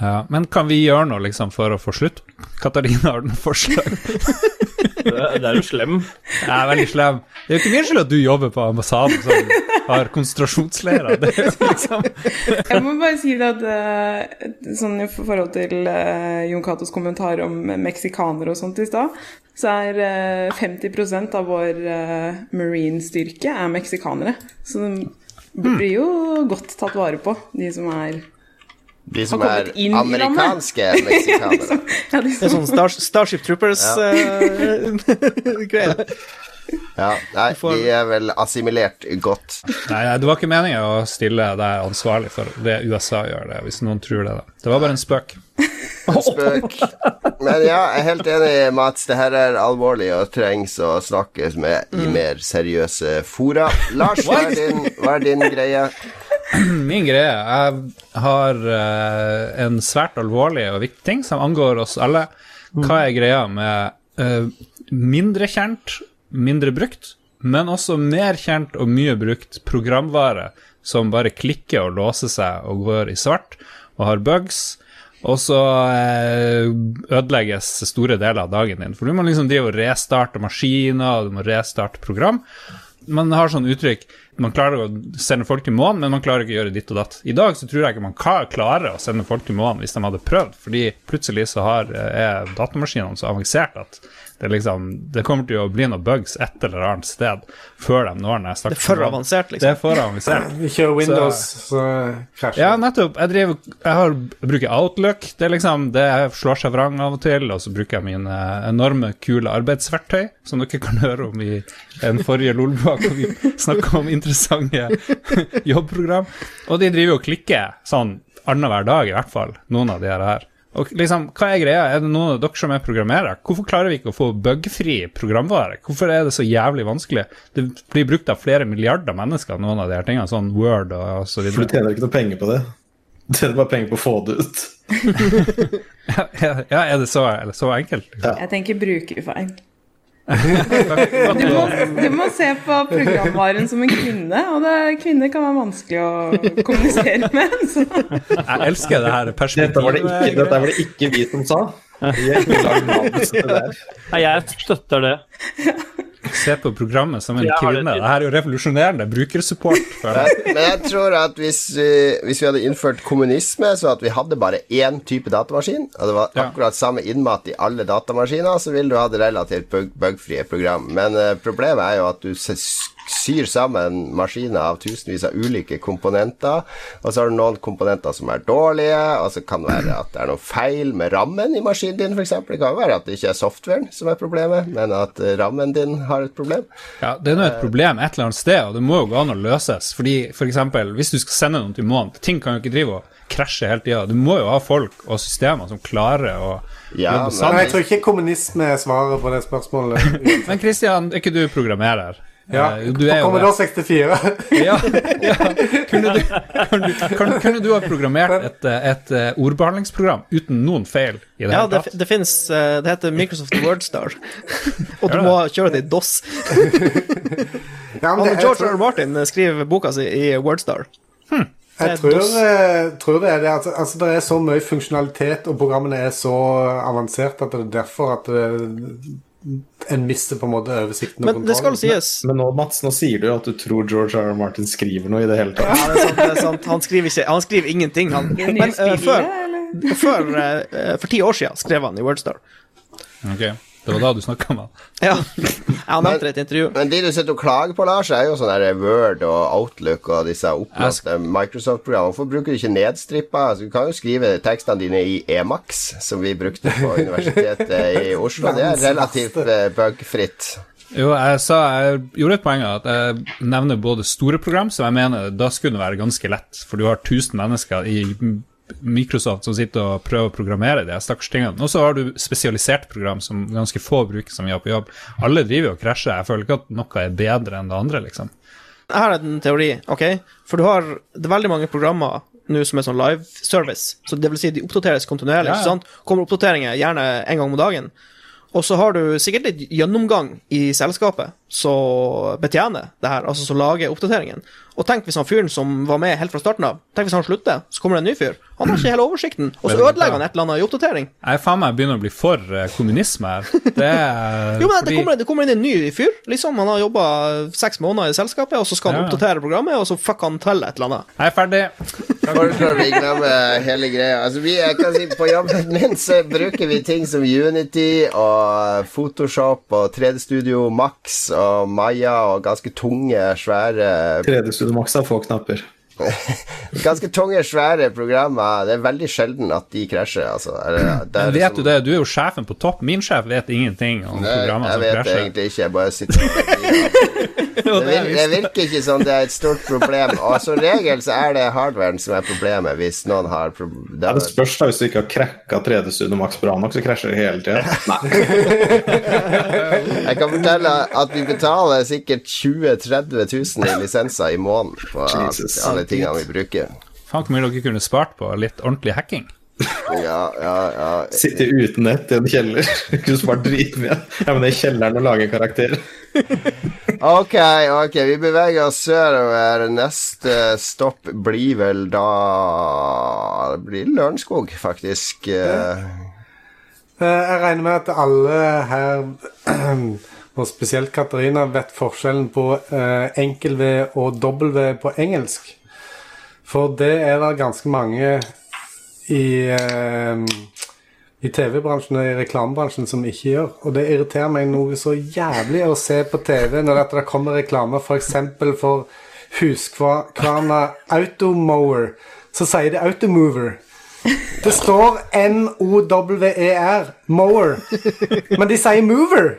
ja. men kan vi gjøre noe liksom for å få slutt? Katarina har noen forslag. Det, det er jo slem. Jeg er veldig slem. Det er jo ikke min skyld at du jobber på ambassaden som har konsentrasjonsleirer. Det er jo liksom Jeg må bare si det at eh, sånn i forhold til eh, Jon Catos kommentar om meksikanere og sånt i stad, så er eh, 50 av vår eh, marine-styrke er meksikanere. Så de Hmm. blir jo godt tatt vare på, de som er De som Har er kommet inn i landet. amerikanske de meksikanere. som, ja, de Det er som sånn Star, Starship eh, Troopers-greier. Ja, nei, får- de er vel assimilert godt. Nei, nei, det var ikke meningen å stille deg ansvarlig for det USA gjør det, hvis noen tror det. da. Det var bare en spøk. Spøk. Men ja, jeg er helt enig, Mats. Det her er alvorlig og trengs å snakkes med i Mm. mer seriøse fora. Lars, hva er din, hva er din greie? Min greie Jeg har eh, en svært alvorlig og viktig ting som angår oss alle. Hva er greia med eh, mindre kjent, mindre brukt, men også mer kjent og mye brukt programvare som bare klikker og låser seg og går i svart og har bugs? Og så eh, ødelegges store deler av dagen din. For du må liksom drive og restarte maskiner, og du må restarte program. Man har sånn uttrykk Man klarer å sende folk til månen, men man klarer ikke å gjøre ditt og datt. I dag så tror jeg ikke man ka- klarer å sende folk til månen hvis de hadde prøvd, fordi plutselig så har, eh, er datamaskinene så avansert at det liksom Det kommer til å bli noen bugs et eller annet sted før de når den Det er for avansert, Det liksom. er for avansert. Vi kjører Windows, så krasjer Ja, det. nettopp. Jeg, driver, jeg, har, jeg bruker Outlook. Det, er liksom, det slår seg vrang av og til. Og så bruker jeg mine enorme, kule arbeidsverktøy, som dere kan høre om i en forrige Lolbak, hvor vi snakka om interessante jobbprogram. Og de driver og klikker sånn annenhver dag, i hvert fall. Noen av de her. her. Og liksom, hva er greia? Er det noen av dere som er programmerere? Hvorfor klarer vi ikke å få bugfri programvare? Hvorfor er det så jævlig vanskelig? Det blir brukt av flere milliarder mennesker, noen av de her tingene, sånn Word og så For videre. du tjener ikke noe penger på det. Du tjener bare penger på å få det ut. Ja, er det så, er det så enkelt? Jeg tenker brukerfeil. Du må, du må se på programvaren som en kvinne, og det, kvinner kan være vanskelig å kommunisere med. Så. Jeg elsker det her perspektivet. Dette var det ikke, dette var det ikke vi som sa. Vi er ikke lagd manus til det der. Nei, jeg støtter det. Se på programmet som en Jeg har det kvinne. til. Det her er jo revolusjonerende brukersupport. For det. Men jeg tror at hvis, eh, hvis vi hadde innført kommunisme, så at vi hadde bare én type datamaskin, og det var Ja. akkurat samme innmat i alle datamaskiner, så ville du hatt relativt bug bugfrie program. Men eh, problemet er jo at du s- syr sammen maskiner av tusenvis av ulike komponenter, og så har du noen komponenter som er dårlige, og så kan det være at det er noe feil med rammen i maskinen din, f.eks. Det kan jo være at det ikke er softwaren som er problemet, men at eh, rammen din har et problem. Ja, det er nå et problem et eller annet sted, og det må jo gå an å løses. Fordi for eksempel, hvis du skal sende noen til månen, ting kan jo ikke drive og krasje hele tida. Du må jo ha folk og systemer som klarer å Ja, jobbe men- Men sammen. jeg tror ikke kommunisme er svaret på det spørsmålet. Men Christian, er ikke du programmerer? Ja, Eh, På du er jo det. Commodore 64. Ja, ja. Kunne, du, kunne, du, kan- kunne du ha programmert et, eh, et eh, ordbehandlingsprogram uten noen feil? i det Ja, hele det, tatt? det fins Det heter Microsoft Wordstar. Og du må kjøre det i DOS. Ja, men det, Han sånn- eh, George R. Martin skriver boka si i Wordstar. Jeg Det er tror, DOS. eh, tror det er det. Altså, altså, det er så mye funksjonalitet, og programmene er så avanserte at det er derfor at eh, en mister på en måte oversikten og Men det skal kontrollen. sies. Men nå, Mats, nå sier du jo at du tror George R. R. Martin skriver noe i det hele tatt. Ja, det er sant. Det er sant. Han, skriver ikke, han skriver ingenting, han. Nye Men eh, spillere, før, eller? før eh, For ti år siden skrev han i Wordstar. Ok, Det var da du snakket med han. Ja. Jeg nevnte det i et intervju. Men de du sitter og klager på, Lars, er jo sånn der Word og Outlook og disse Jeg oppblåste Microsoft-programmene. Hvorfor bruker du ikke nedstrippa? Altså, du kan jo skrive tekstene dine i Emacs, som vi brukte på Universitetet i Oslo. Det er relativt eh, bugfritt. Jo, jeg sa jeg gjorde et poeng av at jeg nevner både store program, som jeg mener da skulle det være ganske lett, for du har 1000 mennesker i M- Microsoft som sitter og prøver å programmere de her stakkars tingene. Og så har du spesialisert program som ganske få bruker som vi har på jobb. Alle driver jo og krasjer. Jeg føler ikke at noe er bedre enn det andre, liksom. Her er en teori, OK? For du har det er veldig mange programmer nå som er sånn live service. Så det vil si de oppdateres kontinuerlig. Ja, ja. ikke sant? Kommer oppdateringer gjerne en gang om dagen. Og så har du sikkert litt gjennomgang i selskapet som betjener det her, altså som lager oppdateringen. Og tenk hvis han fyren som var med helt fra starten av, tenk hvis han slutter, så kommer det en ny fyr. Han har ikke hele oversikten, og så ødelegger han et eller annet i oppdatering. Jeg faen meg begynner å bli for eh, kommunisme her. Det er Jo, men det Eh, fordi- kommer, det kommer inn en ny fyr, liksom. Han har jobba seks måneder i selskapet, og så skal han Ja, ja. oppdatere programmet, og så fucker han til et eller annet. Jeg er ferdig. Hvorfor vi glemmer hele greia? Altså, vi, jeg kan si, på jobben min så bruker vi ting som Unity og Photoshop og 3D Studio Max og Maya og ganske tunge, svære 3D-studio Max har få knapper. Ganske tunge, svære programmer. Det er veldig sjelden at de krasjer, altså. Eller, det er Men vet liksom- du det, du er jo sjefen på topp. Min sjef vet ingenting om Nei, programmer jeg som vet krasjer. egentlig ikke, jeg bare sitter det, vir det virker ikke som det er et stort problem. Og som regel så er det hardwaren som er problemet, hvis noen har prob- Ja, det spørs da hvis du ikke har cracka 3D-studio Max bra nok, så krasjer det hele tida. Nei. Jeg kan fortelle at vi betaler sikkert 20 000-30 000 i lisenser i måneden på alt, Jesus. alle tingene vi bruker. Faen hvor mye dere kunne spart på litt ordentlig hacking. Ja, ja, ja. Sitte uten nett i en kjeller. Kunne spart dritmye. Ja, men det er i kjelleren å lage en karakter. Ok, ok, vi beveger oss sørover. Neste stopp blir vel da Det blir Lørenskog, faktisk. Eh, Eh, Jeg regner med at alle her, og spesielt Katarina, vet forskjellen på eh, enkel-V og dobbel-V på engelsk. For det er det ganske mange i, eh, i TV-bransjen og i reklamebransjen som ikke gjør. Og det irriterer meg noe så jævlig å se på TV når at det kommer reklame f.eks. for Huskvarna Automower. Så sier de Automover. Det står M-O-W-E-R, E mower. Men de sier mover.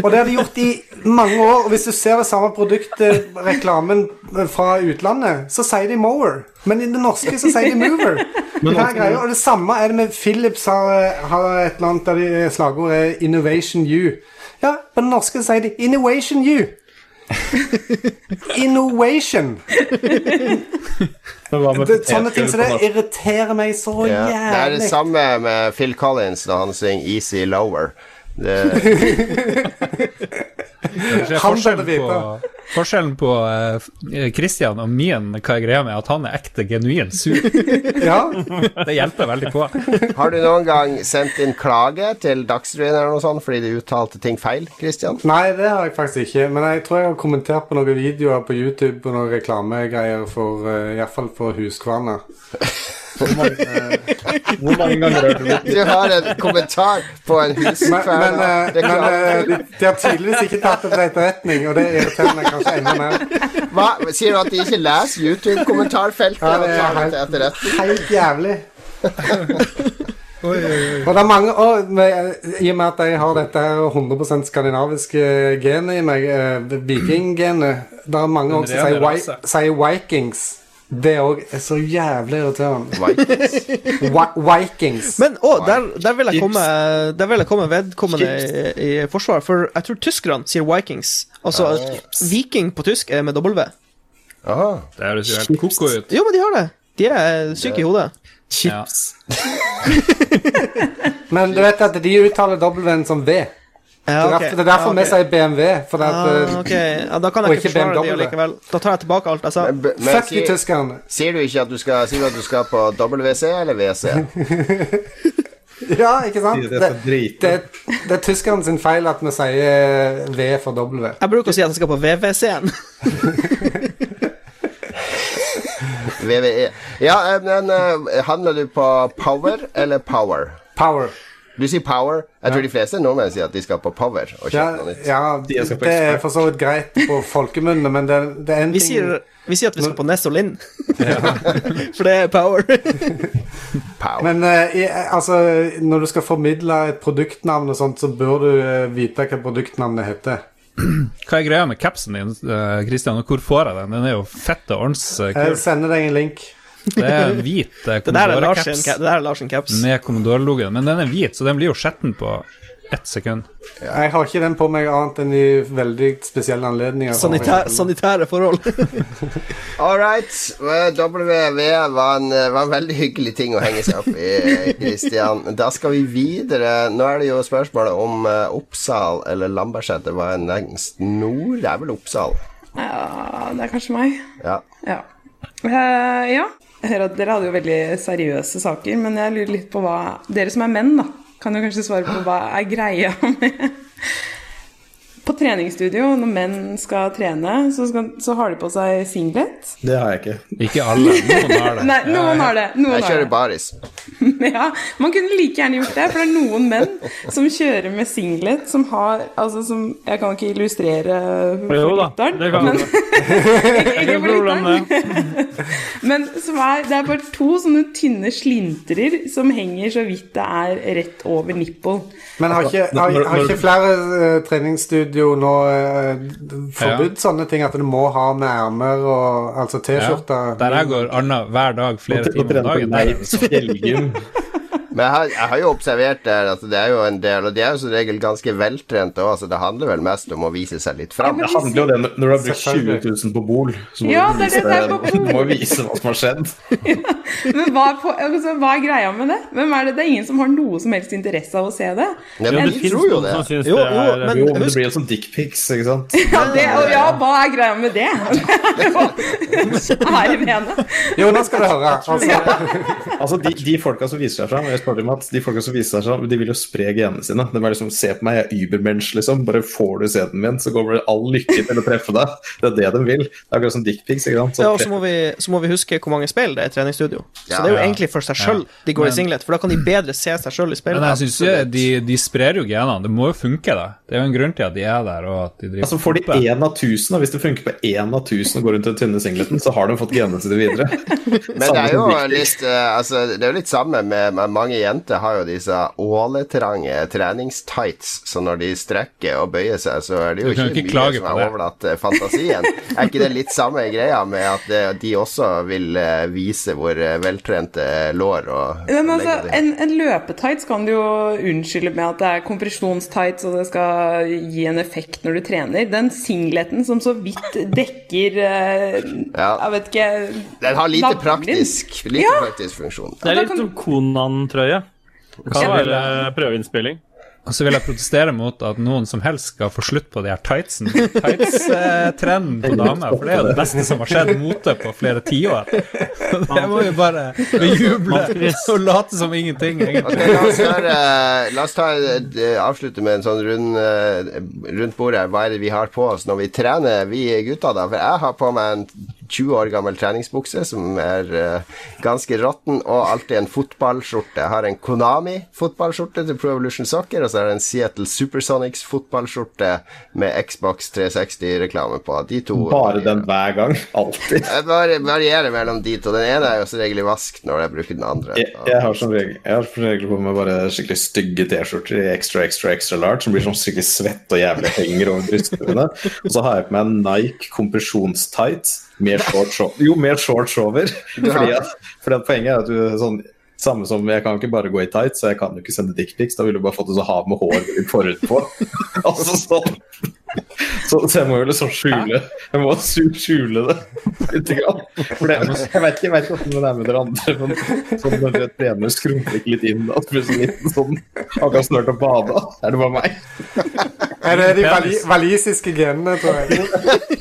Og det har de gjort i mange år. Og hvis du ser det samme produktet, reklamen fra utlandet, så sier de mower. Men i det norske så sier de mover. Hva altså- er greia? Og det samme er det med Philips har, har et eller annet der de slagordet er 'Innovation You'. Ja, på det norske sier de 'Innovation You'. Innovation. Men hva med Det, sånne ting potetgull som på det norsk? irriterer meg så ja. Det er det jævlig. samme med Phil Collins når han synger 'Easy Lower'. Det, Kanskje Han forskjellen burde vite. på, forskjellen på eh, f- eh, Christian og min, hva er greia med at han er ekte genuin sur? Ja. Det hjelper veldig på. har du noen gang sendt inn klage til Dagsrevyen eller noe sånt fordi du uttalte ting feil, Christian? Nei, det har jeg faktisk ikke. Men jeg tror jeg har kommentert på noen videoer på YouTube og noen reklamegreier for eh, i hvert fall for Huskvarna. Hvor mange ganger har du Du blitt har en kommentar på en Men, men, eh, men eh, huskvern. de, de har tydeligvis ikke tatt det til etterretning, og det irriterer meg kanskje enda mer. Hva? Sier du at de ikke leser YouTube-kommentarfeltet Ja, og det er tar det til helt- etterretning? Helt jævlig. Og det er mange og, med, I og med at jeg har dette her 100 skandinaviske genet i meg, eh, vikinggenet Det er mange også som sier, rase. wi- sier vikings. Det òg er så jævlig irriterende. Vikings. Wi- Vikings. Men å, der, der, vil jeg komme, der vil jeg komme vedkommende i, i forsvar, for jeg tror tyskerne sier vikings. Altså, viking på tysk er med W. Aha. Det høres jo helt koko ut. Jo, men de har det! De er syke i hodet. chips? Men du vet at de uttaler W-en som V. Ja, Det er ok. derfor, det er derfor Ja, ok. vi sier BMW. For at, eh, Ah, ok. ja, da kan Og jeg ikke ikke forsvare det BMW. likevel. Da tar jeg tilbake alt jeg sa. Men- men Fuck si- you, tyskerne. Sier du ikke at du skal, sier du at du skal på WC eller WC? Ja, ikke sant? Det er så drit. det, det er tyskerne sin feil at vi sier eh, V for W. Jeg bruker å si at jeg skal på VVC-en. VVE. Ja, eh, men eh, handler du på Power eller Power? Power. Du sier Power. Jeg tror de fleste nordmenn sier at de skal på Power og Ja, kjøpe noe nytt. ja De skal på det er for så vidt greit på folkemunne, men det, det er en Vi ting sier, vi sier at vi skal på Nessolin. For det er power. Power. Men eh, i, altså, når du skal formidle et produktnavn og sånt, så bør du eh, vite hva produktnavnet heter. Hva er greia med capsen din, eh, Christian, og hvor får jeg den? Den er jo fette Jeg ordens-kul. sender deg en link. eh, Det er en hvit eh, Det der er Lars sin, Commodore-caps ca- det der er Lars sin caps. med Commodore-logoen, men den er hvit, så den blir jo skjetten på ett sekund. Jeg har ikke den på meg annet enn i veldig spesielle anledninger. Sanitæ- sanitære forhold. All right. eh, WVE var en, eh, var en veldig hyggelig ting å henge seg opp i, Kristian. Da skal vi videre. Nå er det jo spørsmålet om eh, Oppsal eller Lambertseter var en lengst nord. Det er vel Oppsal? Ja, det er kanskje meg. Ja. Ja. Eh, ja. Jeg hører at dere hadde jo veldig seriøse saker, men jeg lurer litt på hva Dere som er menn, da, kan jo kanskje svare på hva er greia med På treningsstudio, når menn skal trene, så, skal, så har de på seg singlet. Det har jeg ikke. Ikke alle, noen har det. Nei, noen har det. Noen Jeg har kjører det. baris. Ja, man kunne like gjerne gjort det, for det er noen menn som kjører med singlet, som har Altså, som Jeg kan ikke illustrere for Jo da, lytteren, det kan men- du. Ikke Ikke for problem, lytteren. Men som er, det er bare to sånne tynne slintrer som henger så vidt det er rett over nippel. Men har ikke, har, Når- har når- ikke flere eh, treningsstudio nå eh, forbudt sånne ting? At du må ha med ermer og altså Ja. T-skjorter? Der jeg går Anna hver dag, flere Å timer trene om på dagen. der er det Leif sånn. Fjellgym. Men jeg har, jeg har jo observert der at det er jo en del, og de er jo som regel ganske veltrente òg, så det handler vel mest om å vise seg litt fram. Det handler jo det når du har brukt 20 Selvfølgelig. 000 på Bol. Så må Ja, du det er vise, det det er på Bol. du må vise hva som har skjedd. Men hva er, på, altså, hva er greia med det? Hvem er det? Det er ingen som har noe som helst interesse av å se det. Ja, Ja, men det de finnes tror jo noen det. som syns Jo, det jo, er men- Jo, men det blir jo som dickpics, ikke sant? Ja, det og ja, hva er greia med det? Kjære vene. Jo, nå skal du høre. Altså, Altså, de, de folka som viser seg fram, jeg spurte om at de folka som viser seg fram, de vil jo spre genene sine. De er liksom 'se på meg, jeg er übermensch', liksom. Bare får du sæden min, så kommer det all lykke til å treffe deg. Det er det de vil. Det er akkurat som dickpics, ikke sant. Ja, Så og så må, vi, så må vi huske hvor mange speil det er i treningsstudio. Så Ja, det er jo ja. egentlig for seg sjøl de går i Men- singlet, for da kan de bedre se seg sjøl i Men jeg speilet. synes jo de, de sprer jo genene. Det må jo funke, da. Det er jo en grunn til at de er der, og at de driver Altså Får de oppe. én av tusen, og hvis det funker på én av tusen og går rundt i den tynne singleten, så har de fått genene sine videre. Men det Samme er som jo dickpics. litt, eh, altså, det er jo litt samme med med Mange jenter har jo disse åletrange treningstights, så når de strekker og bøyer seg, så er det jo Du kan ikke, jo ikke mye klage som på er det. overlatt eh, fantasien. er ikke det litt samme greia med at eh, de også vil eh, vise hvor eh, veltrente lår og Men altså, legger de har? en, en løpetights kan du jo unnskylde med at det er kompresjonstights og det skal gi en effekt når du trener. Den singleten som så vidt dekker eh, Ja. Jeg vet ikke Den har lite navlen din. praktisk, lite Ja. praktisk funksjon. Det er Da litt kan- som Konan-trøye. Kan Ja, det- være prøveinnspilling. Og så vil jeg protestere mot at noen som helst skal få slutt på de her tightsen. Tights-trenden på damer, for det er jo det beste som har skjedd mote på flere tiår. Det må vi bare bejuble og late som ingenting, Ok, egentlig. la oss, gjøre, eh, la oss ta, eh, avslutte med en sånn rund, eh, rundt bordet. Hva er det vi har på oss når vi trener, vi gutta, da? For jeg har på meg en 20 år gammel treningsbukse som er eh, ganske råtten, og alltid en fotballskjorte. Jeg har en Konami-fotballskjorte til Pro Evolution Soccer, og så er det en Seattle Supersonics fotballskjorte med Xbox 360-reklame på. De to Bare den hver gang. Alltid. Jeg bare varierer mellom de to. Den ene er jo som regel i vask når jeg bruker den andre. Jeg, jeg har som regel, jeg har som regel på meg bare skikkelig stygge T-skjorter i extra, extra, extra large som blir sånn skikkelig svett og jævlig henger over brystene. Og så har jeg på meg en Nike kompresjonstights med short shorts jo, med shorts over. Fordi, at, fordi at poenget er at du sånn samme som Jeg kan ikke bare gå i tights, så jeg kan jo ikke sende dickpics. Da ville du bare fått det så hav med hår forut på. Altså sånn. Så, så jeg må jo liksom skjule Jeg må su- skjule det litt. Grann. For det, jeg vet ikke jeg vet ikke hvordan det er med dere andre, men sånn når dere trener skrumper ikke litt inn da, plutselig litt sånn akkurat snørt og bada. Er det bare meg? Er det de vali walisiske genene, tror jeg?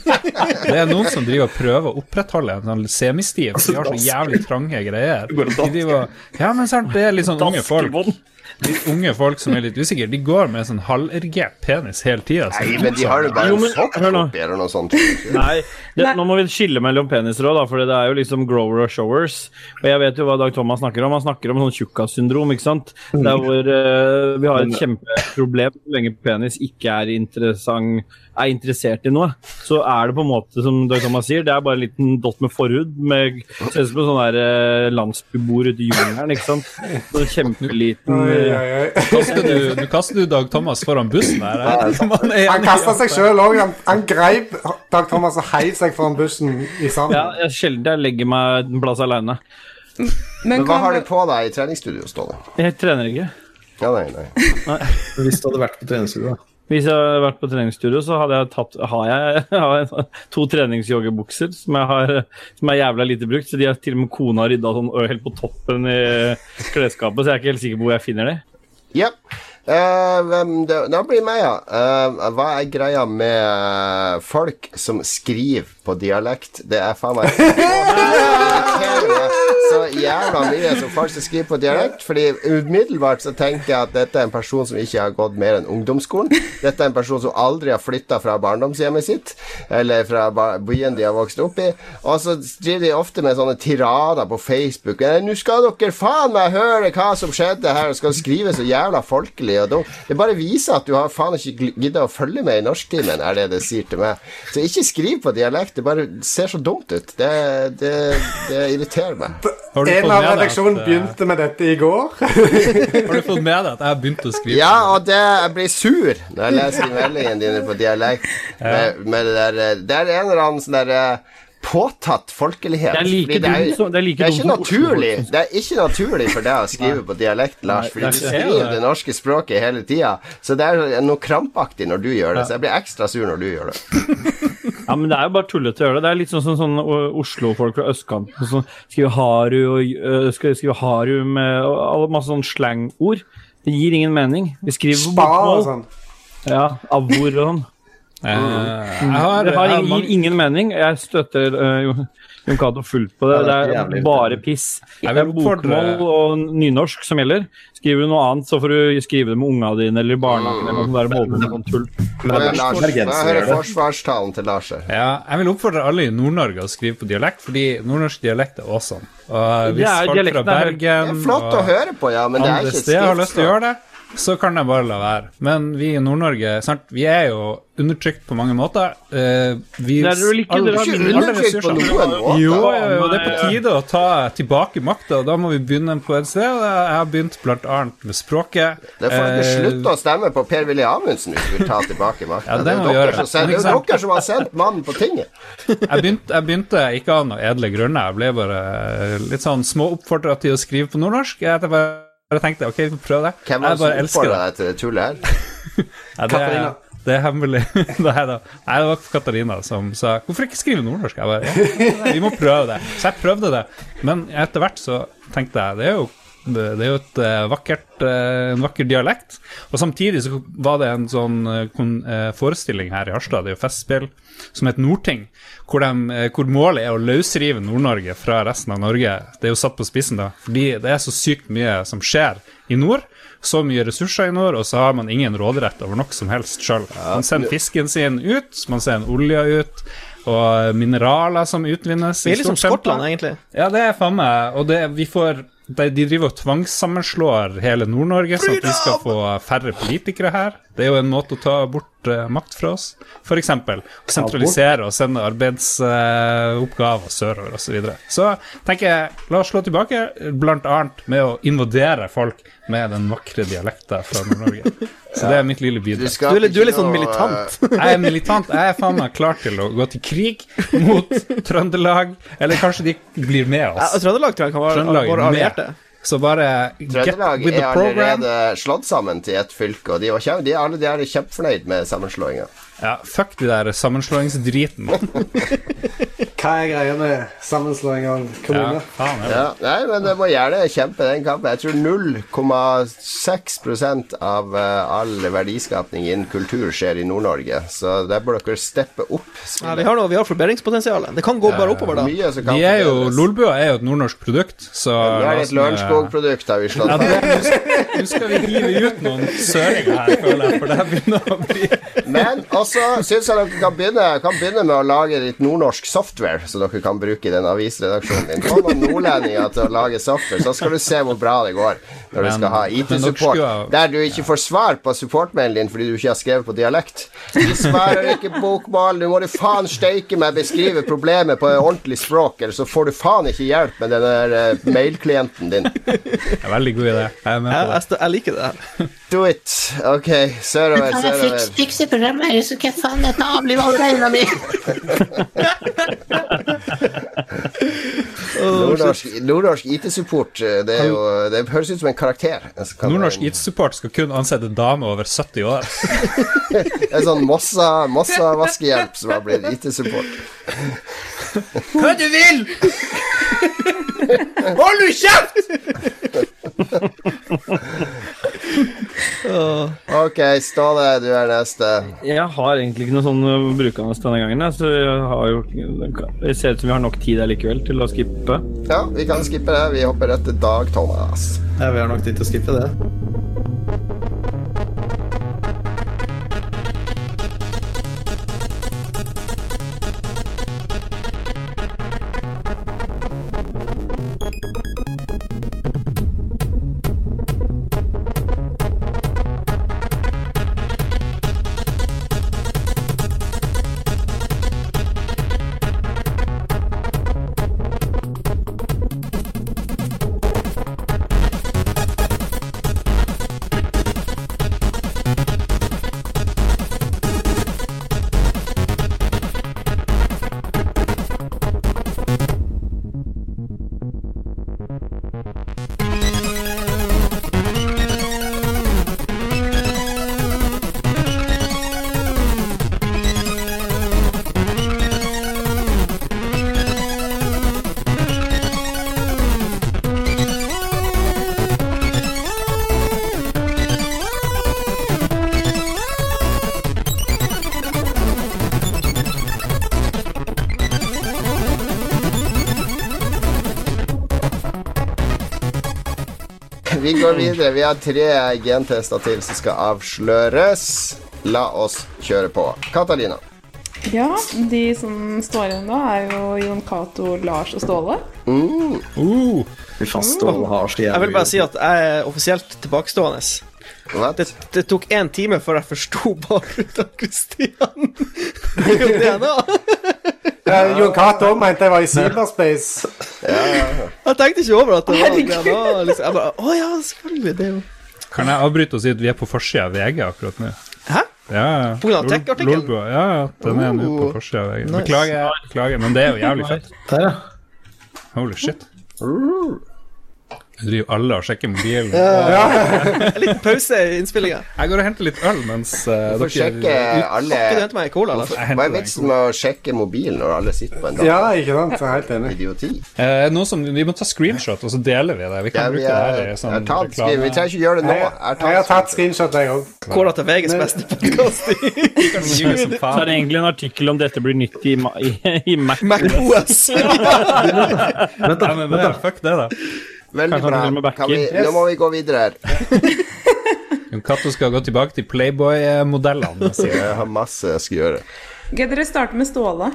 Det er noen som driver og prøver å opprettholde en sånn semistiv, for de har så jævlig trange greier. Altså, går og De driver og- Ja, men sant, det er litt sånn unge folk. Litt unge folk som er litt usikre, de går med sånn halverigert penis hele tida. Nei, men de har jo bare Jo, en men- sokk hør nå. oppi eller noe sånt. Nei, det, Nei. nå må vi skille mellom peniser òg, for det er jo liksom grower og showers. Og jeg vet jo hva Dag Thomas snakker om. Han snakker om sånn tjukkas-syndrom, ikke sant. Der hvor eh, vi har et kjempeproblem så lenge penis ikke er interessant er interessert i noe, så er det på en måte som Dag Thomas sier, det er bare en liten dott med forhud. Med, ser ut som en sånn der eh, landsbybord ute i jungelen, ikke sant. Så kjempeliten Oi, eh, oi, oi. Kaster du, nå kaster du Dag Thomas foran bussen her. Man er Han enig. kasta seg sjøl òg. Han, han greip Dag Thomas og heiv seg foran bussen i Ja, sanden. jeg sjelden jeg legger meg en plass aleine. Men hva kan- har du på deg i treningsstudio, Ståle? Jeg trener ikke. Ja, nei, nei. Hvis du hadde vært på treningsstudio, da. Hvis jeg hadde vært på treningsstudio, så hadde jeg tatt, har jeg, har jeg to treningsjoggebukser som, jeg har- som er jævla lite brukt. Så de har til og med kona rydda sånn ø, helt på toppen i klesskapet, så jeg er ikke helt sikker på hvor jeg finner de. Ja. Eh, hvem det, da blir det meg, ja. Eh, hva er greia med eh, folk som skriver på dialekt? Det er faen meg så jævla mye som folk som skriver på dialekt. Fordi umiddelbart så tenker jeg at dette er en person som ikke har gått mer enn ungdomsskolen. Dette er en person som aldri har flytta fra barndomshjemmet sitt, eller fra ba- byen de har vokst opp i. Og så driver de ofte med sånne tirader på Facebook. Eh, 'Nå skal dere faen meg høre hva som skjedde her', og skal skrive så jævla folkelig og dumt. Det bare viser at du har faen ikke gl- giddet å følge med i norsktimen, er det det sier til meg. Så ikke skriv på dialekt, det bare ser så dumt ut. Det, det, det irriterer meg. Har du fått En med av deg at, redaksjonen eh, begynte med dette i går. Har du fått med deg at jeg begynte å skrive? Ja, og det, jeg blir sur når jeg leser meldingene dine på dialekt. Med, med det, der, eh, det er en eller annen sånn der eh, påtatt folkelighet. Det er like Fordi dumt som- det er like det er dumt ikke som naturlig Det er ikke naturlig for deg å skrive på dialekt, Lars, fordi det er du ikke- skriver det norske språket hele tida. Så det er noe krampaktig når du gjør det, så jeg blir ekstra sur når du gjør det. Ja, men det er jo bare tullete å gjøre det. Det er litt sånn som sånn, ø, Oslo-folk fra østkanten som skriver haru og ø, skal skrive haru med og, alle masse sånn slangord. Det gir ingen mening. Vi skriver på Spa og bokmål. sånn. Ja, abbor og sånn. Eh, Jeg har, Det har jeg har ingen, gir mange, ingen mening. Jeg støtter eh, Jo- Jon Cato fullt på det. Ja, det det er er jævlig bare piss. Det Jeg er vil oppfordre- bokmål og nynorsk som gjelder. Skriver du noe annet, så får du skrive det med unga dine eller i barnehagen eller noe sånt. der, med åpne sånn tull. Men det er verst Lars, når jeg bergensere hører gjør det. forsvarstalen til Lars her. ja, jeg vil oppfordre alle i Nord-Norge å skrive på dialekt, fordi nordnorsk dialekt er awesome. Og eh, Det hvis er- folk fra dialekten er- Det Bergen er flott å og høre på, ja, men det er andre ikke steder har lyst til å skriftspråk. gjøre det, så kan de bare la være. Men vi i Nord-Norge sant, vi er jo undertrykt på mange måter. Eh, vi, Nei, det er vel ikke- alle- det er Ikke alle undertrykt på ressurser- noen måte. Jo, jo, jo, det er på tide å ta tilbake makta, og da må vi begynne på et sted. og Jeg har begynt blant annet med språket. Det får dere Eh, slutte å stemme på Per-Willy Amundsen hvis du vil ta tilbake makta. Ja, det det, er må vi dere gjøre. som sender- det er jo dere som har sendt mannen på tinget. jeg, begynte, jeg begynte ikke av noen edle grunner. Jeg ble bare eh, litt sånn småoppfordra til å skrive på nordnorsk. Jeg tenkte bare, jeg tenkte ok, vi får prøve det. Hvem var jeg det bare som elsker oppfordra det. deg til det tullet her? Ja, det, Katarina. er, det er hemmelig. Nei da. Nei, det var Katarina som sa Hvorfor ikke skrive nordnorsk? Jeg bare, ja, Vi må prøve det. Så jeg prøvde det. Men etter hvert så tenkte jeg det er jo det det er jo et eh, vakkert, eh, en vakker dialekt. Og samtidig så var det en sånn eh, kon- eh, forestilling her i Harstad, det er jo festspill, som het Nordting, hvor, dem, eh, hvor målet er å løsrive Nord-Norge fra resten av Norge. Det er jo satt på spissen, da. Fordi det er så sykt mye som skjer i nord. Så mye ressurser i nord, og så har man ingen råderett over noe som helst sjøl. Man sender fisken sin ut, man sender olja ut, og mineraler som utvinnes. Vi i er liksom stort tempo. Skottland, egentlig. Ja, det er faen meg. Og det, vi får de, de driver og tvangssammenslår hele Nord-Norge, sånn at vi skal få færre politikere her. Det er jo en måte å ta bort eh, makt fra oss, for eksempel. Å sentralisere og sende arbeidsoppgaver sørover osv. Så, videre. så tenker jeg, la oss slå tilbake, blant annet med å invadere folk med den vakre dialekten fra Nord-Norge. Så det er mitt lille bidrag. skal Du er litt- du er ikke litt sånn noe, militant. Jeg er militant. Jeg er faen meg klar til å gå til krig mot Trøndelag, eller kanskje de blir med Ja, oss. Trøndelag tror jeg kan være Trøndelag er våre med. allierte. Så bare get Trøndelag with er the program. allerede slått sammen til ett fylke, og de, var kjem, de, er alle, de er kjempefornøyd med sammenslåinga. Ja, fuck de der sammenslåingsdriten. Hva er greia med sammenslåing av Ja, kommuner? faen, ja. Ja, nei, men det må gjerne kjempe den kampen. Jeg tror 0,6 av eh, all verdiskapning innen kultur skjer i Nord-Norge, så der bør dere steppe opp. Ja, vi har noe, vi har forbedringspotensial. Det kan gå bare oppover, da. Mye som kan De er jo, altså, forbedres. Lolbua er jo et nordnorsk produkt, så Vi har et Lørenskog-produkt, har vi slått Ja, fast. det- Nå sk- nå skal vi hive ut noen søringer her, føler jeg, for det her begynner å bli Men også syns jeg dere kan begynne, kan begynne med å lage litt nordnorsk software, som dere kan bruke i den avisredaksjonen din. Få noen nordlendinger til å lage software, så skal du se hvor bra det går når du Men- skal ha men dere IT-support. skulle ha- Der du ikke får svar på supportmailen din fordi du ikke har skrevet på dialekt. De svarer ikke bokmål, du må du faen steike meg beskrive problemet på ordentlig språk, eller så får du faen ikke hjelp med den der eh, mailklienten din. Det er Veldig god idé. Jeg er med Jeg, på jeg, det. st- jeg liker det her. Do it. OK, sørover, Han er sørover. seks stykker i programmet, her, så hva faen dette avliver av beina mi? Nordnorsk, nordnorsk IT-support, eh, det, er jo, det høres ut som en karakter. Jeg skal kalle Nordnorsk det IT-support skal kun ansette dame over 70 år. en, en sånn Mossa, Mossa vaskehjelp som har blitt IT-support. Hva du vil! Hold du kjeft! Ok, Ståle, du er neste. Jeg har egentlig ikke noe sånn uh, brukende denne gangen, jeg, så jeg har jo Det ser ut som vi har nok tid allikevel til å skippe. Ja, vi kan skippe det. Vi hopper rett til Dag Thomas. Ja, vi har nok tid til å skippe det. Vi går videre. Vi har tre gentester til som skal avsløres. La oss kjøre på. Katalina. Ja, de som står igjen da, er jo Jon Cato, Lars og Ståle. Uh, Fy faen, Ståle har så jævlig Jeg vil bare si at jeg er offisielt tilbakestående. Hva? Det, det tok én time før jeg forsto bakgrunnen av Christian. Det er jo DNA. Eh, Jon Cato mente jeg var i cyberspace. Jeg tenkte ikke over at det var DNA. Liksom. Jeg bare, Å ja, selvfølgelig. Det er jo kan jeg avbryte og si at vi er på forsida av VG akkurat nå? Hæ? Ja, ja. På grunn av Lol- tech-artikkelen? Lolbua, Ja, ja, den er nå Oh. på forsida av VG. nice. Beklager, beklager, men det er jo jævlig fett. Der, ja. Holy shit. Jeg driver alle og sjekker mobilen. En liten pause i innspillinga. Jeg går og henter litt øl mens eh, Får sjekke dere alle Kan du hente meg en cola, Lars? Jeg Hva henter er den. vitsen med å sjekke mobilen når alle sitter på en dag? Ja, ikke sant? Jeg er helt enig. Idioti. Eh, noe som, vi må ta screenshot, og så deler vi det. Vi kan Ja, vi, bruke det her er, i jeg har sånn tatt skriv. Vi reklame. trenger ikke gjøre det nå. Jeg, jeg har tatt screenshot, jeg òg. Cola til VGs beste podkast i Gi meg som Så er faen. det egentlig en artikkel om dette blir nytt i, ma- i, i Mac. Mac OS. Vent, Ja, da. men det er- fuck det, da. Veldig Kanskje bra. han vil med backer. Kan vi, Nå må vi gå videre her. Jon Cato skal gå tilbake til Playboy-modellene. sier jeg. Jeg har masse jeg skal gjøre. Ok, dere starter med Ståle.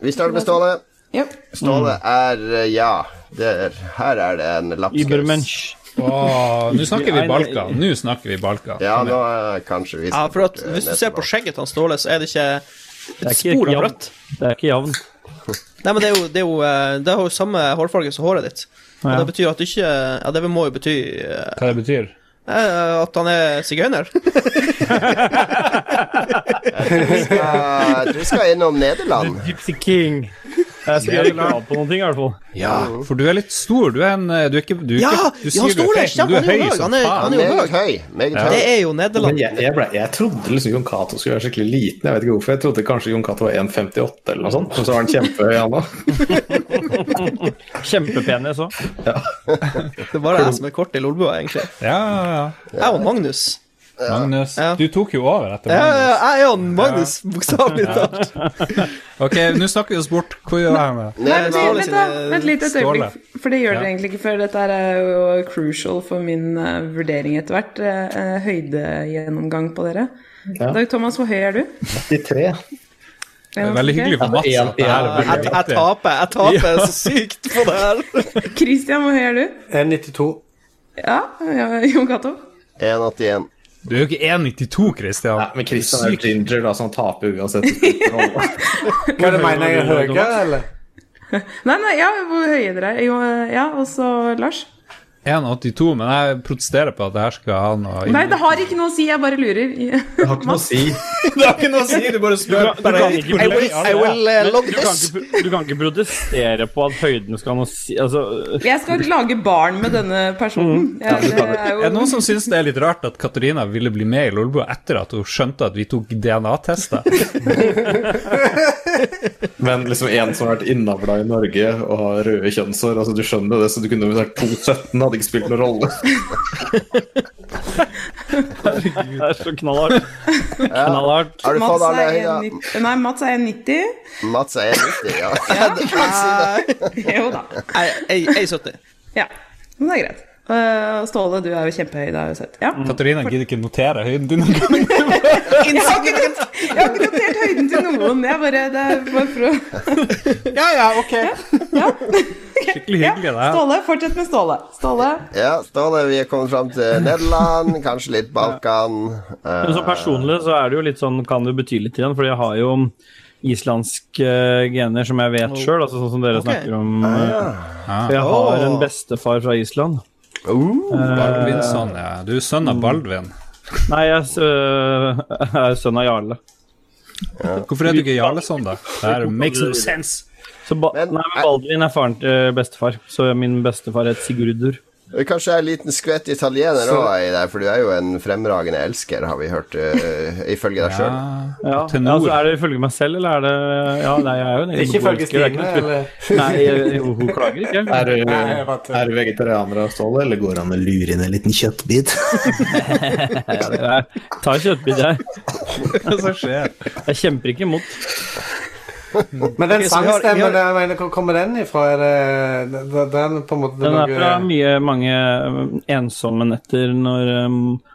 Vi starter med Ståle. Yep. Mm. Ståle er eh, ja. Der. Her er det en lapskaus. Ibermensch. Åh, Nå snakker vi Balkan. Nå snakker vi Balkan. Ja, nå eh, kanskje vi Ja, skal for at bort, eh, Hvis du ned ser på tilbake. skjegget til han Ståle, så er det ikke Det et er ikke spor av jevnt. rødt. Det er ikke jevnt. Nei, men det er jo Det, er jo, eh, det har jo samme hårfarge som håret ditt. Og Ja. det betyr at du ikke Ja, det må jo bety eh, Hva det betyr? at han er sigøyner. Eh, Du skal innom Nederland. Gypsy King. Jeg skrev ikke av på noen ting, i hvert fall. Ja, for du er litt stor. Du er en eh, Du er ikke du er Ja, ikke, ja, du sier han du er står der, feit, men du Stefan, han er er høy jo høy, som han er- han faen. er jo- Meget høy. Meget høy. Det er jo Men Nederland. jeg, jeg, ble, jeg trodde liksom Jon Cato skulle være skikkelig liten. Jeg vet ikke hvorfor. Jeg trodde kanskje Jon Cato var 1,58 eller noe sånt, men så var han kjempehøy, han òg. Kjempepenis òg. Det er bare jeg som er kort i Lolbua, egentlig. Ja, ja, Jeg og Magnus. ja. Magnus. Ja. Du tok jo over etter Ja, ja, Magnus. ja, jeg og Magnus, bokstavelig talt. Ok, nå snakker vi oss bort. Hvor gjør jeg med det? Nei, det men er Ståle vent, da. sine- Vent litt et Ståle. øyeblikk, for det gjør Ja. det egentlig ikke før. Dette er eh, jo crucial for min eh, vurdering etter hvert. eh, eh, høydegjennomgang på dere. Ja. Dag Thomas, hvor høy er du? 93. Det er veldig hyggelig for Mats. Ja, at det her er ja, Jeg, veldig jeg viktig. taper. Jeg taper så sykt på det her. Christian, hvor høy er du? 1,92. Ja, ja Jon Cato. 1,81. Du er jo ikke 1,92, Christian. Nei, men Christian er jo ginger, da, så han taper uansett. Nei, Hva er det mener jeg er høyere, eller? Nei, nei, ja, hvor høye dere er. Jo, eh, ja, og så Lars. 1,82, men jeg protesterer på at det her skal ha noe Nei, det har ikke noe å si, jeg bare lurer. Det har ikke noe å si. Det har ikke noe å si, du bare spør. Du kan ikke I will, I will eh, log du kan this. ikke, pro- du kan ikke protestere på at høyden skal ha noe å si Altså, Jeg skal lage barn med denne Mm. personen. Ja, det er Er det jo noen som syns det er litt rart at Katarina ville bli med i Lolbua etter at hun skjønte at vi tok DNA-tester? Men liksom en som har vært innavla i Norge og har røde kjønnshår altså Du skjønner jo det, så du kunne jo vært 2,17, hadde ikke spilt noen rolle. det er så knallhardt. Knallhardt. Har du fått Mats alle er høyda? 1,90. Nei, Mats er 1,90. Mats er 1,90, ja. ja. det kan jeg si det. Jo da. Jeg er 70. Ja, men det er greit. Eh, Ståle, du er jo kjempehøy, det har jeg jo sett. Ja. Katarina gidder ikke notere høyden din engang. Insignificant. Jeg har ikke notert høyden til noen. Jeg bare, det er bare for å Ja, ja, ok. Skikkelig hyggelig, det her. Ståle, fortsett med Ståle. Ståle. Ja, Ståle, vi er kommet fram til Nederland, kanskje litt Balkan. Eh, Men så personlig så er det jo litt sånn, kan det bety litt igjen, fordi jeg har jo islandske gener som jeg vet sjøl, altså sånn som dere Ok. snakker om. eh, Jeg har en bestefar fra Island. Baldvinsson, ja. Du er sønn av Baldvin. Nei, jeg er sø- jeg er sønn av Jarle. Hvorfor er du ikke Jarleson, da? Det her makes no sense. Så ba Men- nei, men Baldvin er faren til bestefar, så min bestefar het Sigurdur. Kanskje jeg er en liten skvett italiener Så- òg i deg, for du er jo en fremragende elsker, har vi hørt, eh, ifølge deg sjøl. Ja. Ja. altså, Ja, Tenor. så er det ifølge meg selv, eller er det Ja, nei, jeg er jo en Ikke følge det er ikke Stine, noe tvil. eller? Nei, jeg- hun hun klager ikke. Er du, Nei, jeg bare tuller. er du vegetarianer av Ståle, eller går han og lurer inn en liten kjøttbit? Jeg tar kjøttbit, jeg. Hva som skjer? Jeg kjemper ikke imot. Men den Ok, så vi har- vi har- sangstemmen, jeg mener, hvor kommer den ifra? Er det, det- den på en måte Den er noe- fra mye, mange um, ensomme netter når um,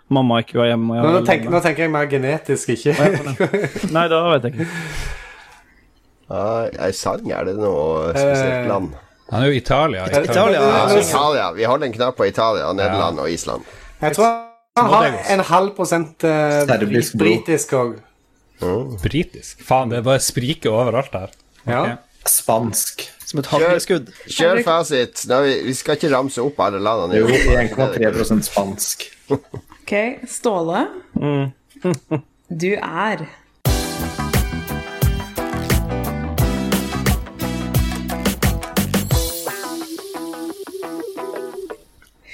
mamma ikke var hjemme. Og jeg Nå, var nå, tenk, alene. nå tenker jeg mer genetisk, ikke Nei, da vet jeg ikke. Ei sang, er det noe spesielt Eh, land? Han er jo i Italia. i Italia. Italia. Ja, eh, Italia. Vi holder en knapp på Italia, Nederland og Island. Jeg tror han har en halv prosent eh, Serbisk blod. britisk òg. Britisk. Faen, det bare spriker overalt her. Ja. Ok. Spansk. Som et hagleskudd. Kjør fasit. Nå, vi, vi skal ikke ramse opp alle landene. i Jo, Europa. 1,3 spansk. Ok, Ståle. Du er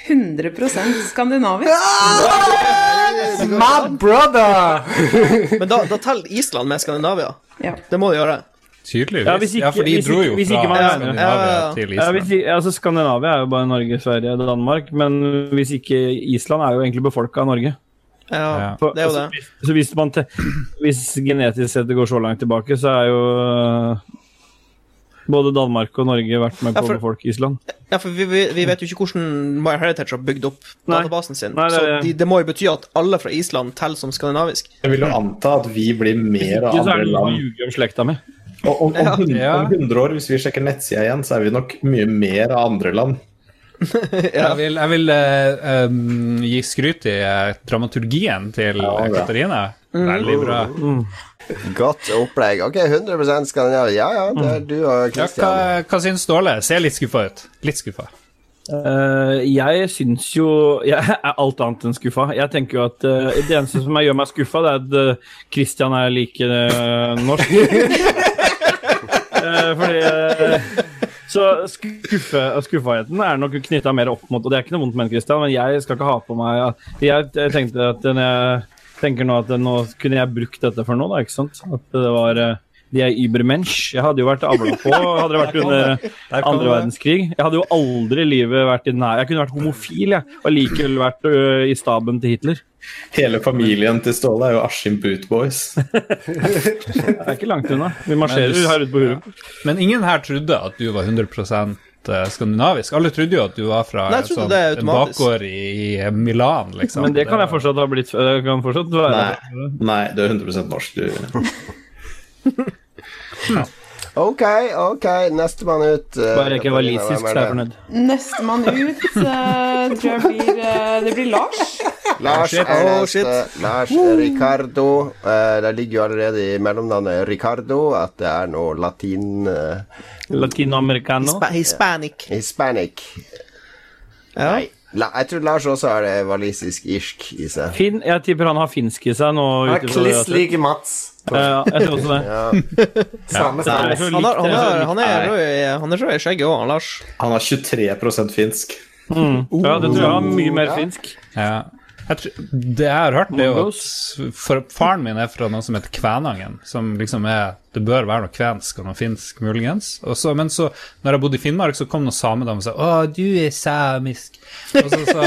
...100 skandinavisk. My brother! Men da, da teller Island med Skandinavia. Ja. Det må det gjøre. Tydeligvis. Ja, hvis ikke- ja, for de hvis dro ikke- jo hvis fra ikke man- Ja, ja, ja. Skandinavia til Ja, Island. hvis, i- altså, Skandinavia er jo bare Norge, Sverige, Danmark. Men hvis ikke Island er jo egentlig befolka av Norge. Ja, For- det er jo altså, det. hvis- Så hvis, man te hvis genetisk sett det går så langt tilbake, så er jo uh, både Danmark og Norge vært med Ja, på å for- befolke Island. Ja, for vi, vi, vi vet jo ikke hvordan MyHeritage har bygd opp Nei. databasen sin. Nei, det- Så de, det må jo bety at alle fra Island teller som skandinavisk. Jeg vil jo anta at vi blir mer av Ikke så er andre det noe å land. ljuge om slekta mi. Og om, om, hund- Ja. om 100 år, hvis vi sjekker nettsida igjen, så er vi nok mye mer av andre land. Jeg vil, jeg vil eh, em, gi skryt i eh, dramaturgien til Ja, bra. Katarina. Veldig bra. Godt opplegg. Ok, 100 Skandinavia. Ja ja, det er du og Ja, hva, Christian. hva syns Ståle? Ser litt skuffa ut. Litt skuffa. Eh, jeg syns jo Jeg er alt annet enn skuffa. Jeg tenker jo at eh, Det eneste som gjør øh, meg skuffa, det er at eh, Christian er like eh, norsk. øh, Eh, fordi eh, Så skuffe, skuffagheten er nok knytta mer opp mot Og det er ikke noe vondt ment, Christian, men jeg skal ikke ha på meg at- Jeg tenkte at når jeg tenker nå at nå kunne jeg brukt dette for noe, da, ikke sant? At det var eh, De er übermensch. Jeg hadde jo vært avla på hadde det vært under andre verdenskrig. Jeg hadde jo aldri i livet vært i nær Jeg kunne vært homofil, jeg, og likevel vært ø, i staben til Hitler. Hele familien til Ståle er jo Askim Boot Boys. Det er ikke langt unna. Vi marsjerer Men du- her ute på Hurum. Men ingen her trodde at du var 100 skandinavisk. Alle trodde jo at du var fra sånn Nei, jeg trodde det er en automatisk. bakgård i Milan, liksom. Men det kan jeg fortsatt ha blitt. Det kan fortsatt være. Nei, nei, du er 100 norsk, du. OK, ok, nestemann ut. eh, Bare jeg ikke var Katarina, lisisk, hvem så er er jeg det? fornøyd. Nestemann ut eh, tror jeg blir eh, Det blir Lars. Lars shit. Ernest, Oh, shit. eh, Lars Ricardo. Eh, det ligger jo allerede i mellomnavnet Ricardo at det er noe latin eh, Latinoamericano. Hispa- Hispanic. Hispanic. Ja. La, jeg tror Lars også har det walisisk-irsk i seg. Finn, jeg tipper han har finsk i seg nå. Han ut ifra er det altså. kliss at- lik Mats. Ja, jeg tror også det. Samme Jeg sted. tror Han, likt- har, han, jeg har, tror han er rød i- han er rød i skjegget òg, Lars. Han har 23 finsk. likt- eh, Ja, det tror jeg var mye mer finsk. Ja. Jeg tr det jeg har hørt, det er jo at for faren min er fra noe som heter Kvænangen. Som liksom er Det bør være noe kvensk og noe finsk, muligens. Og så, men så, når jeg bodde i Finnmark, så kom noen samedame og sa 'Å, du er samisk'. Og så, sa-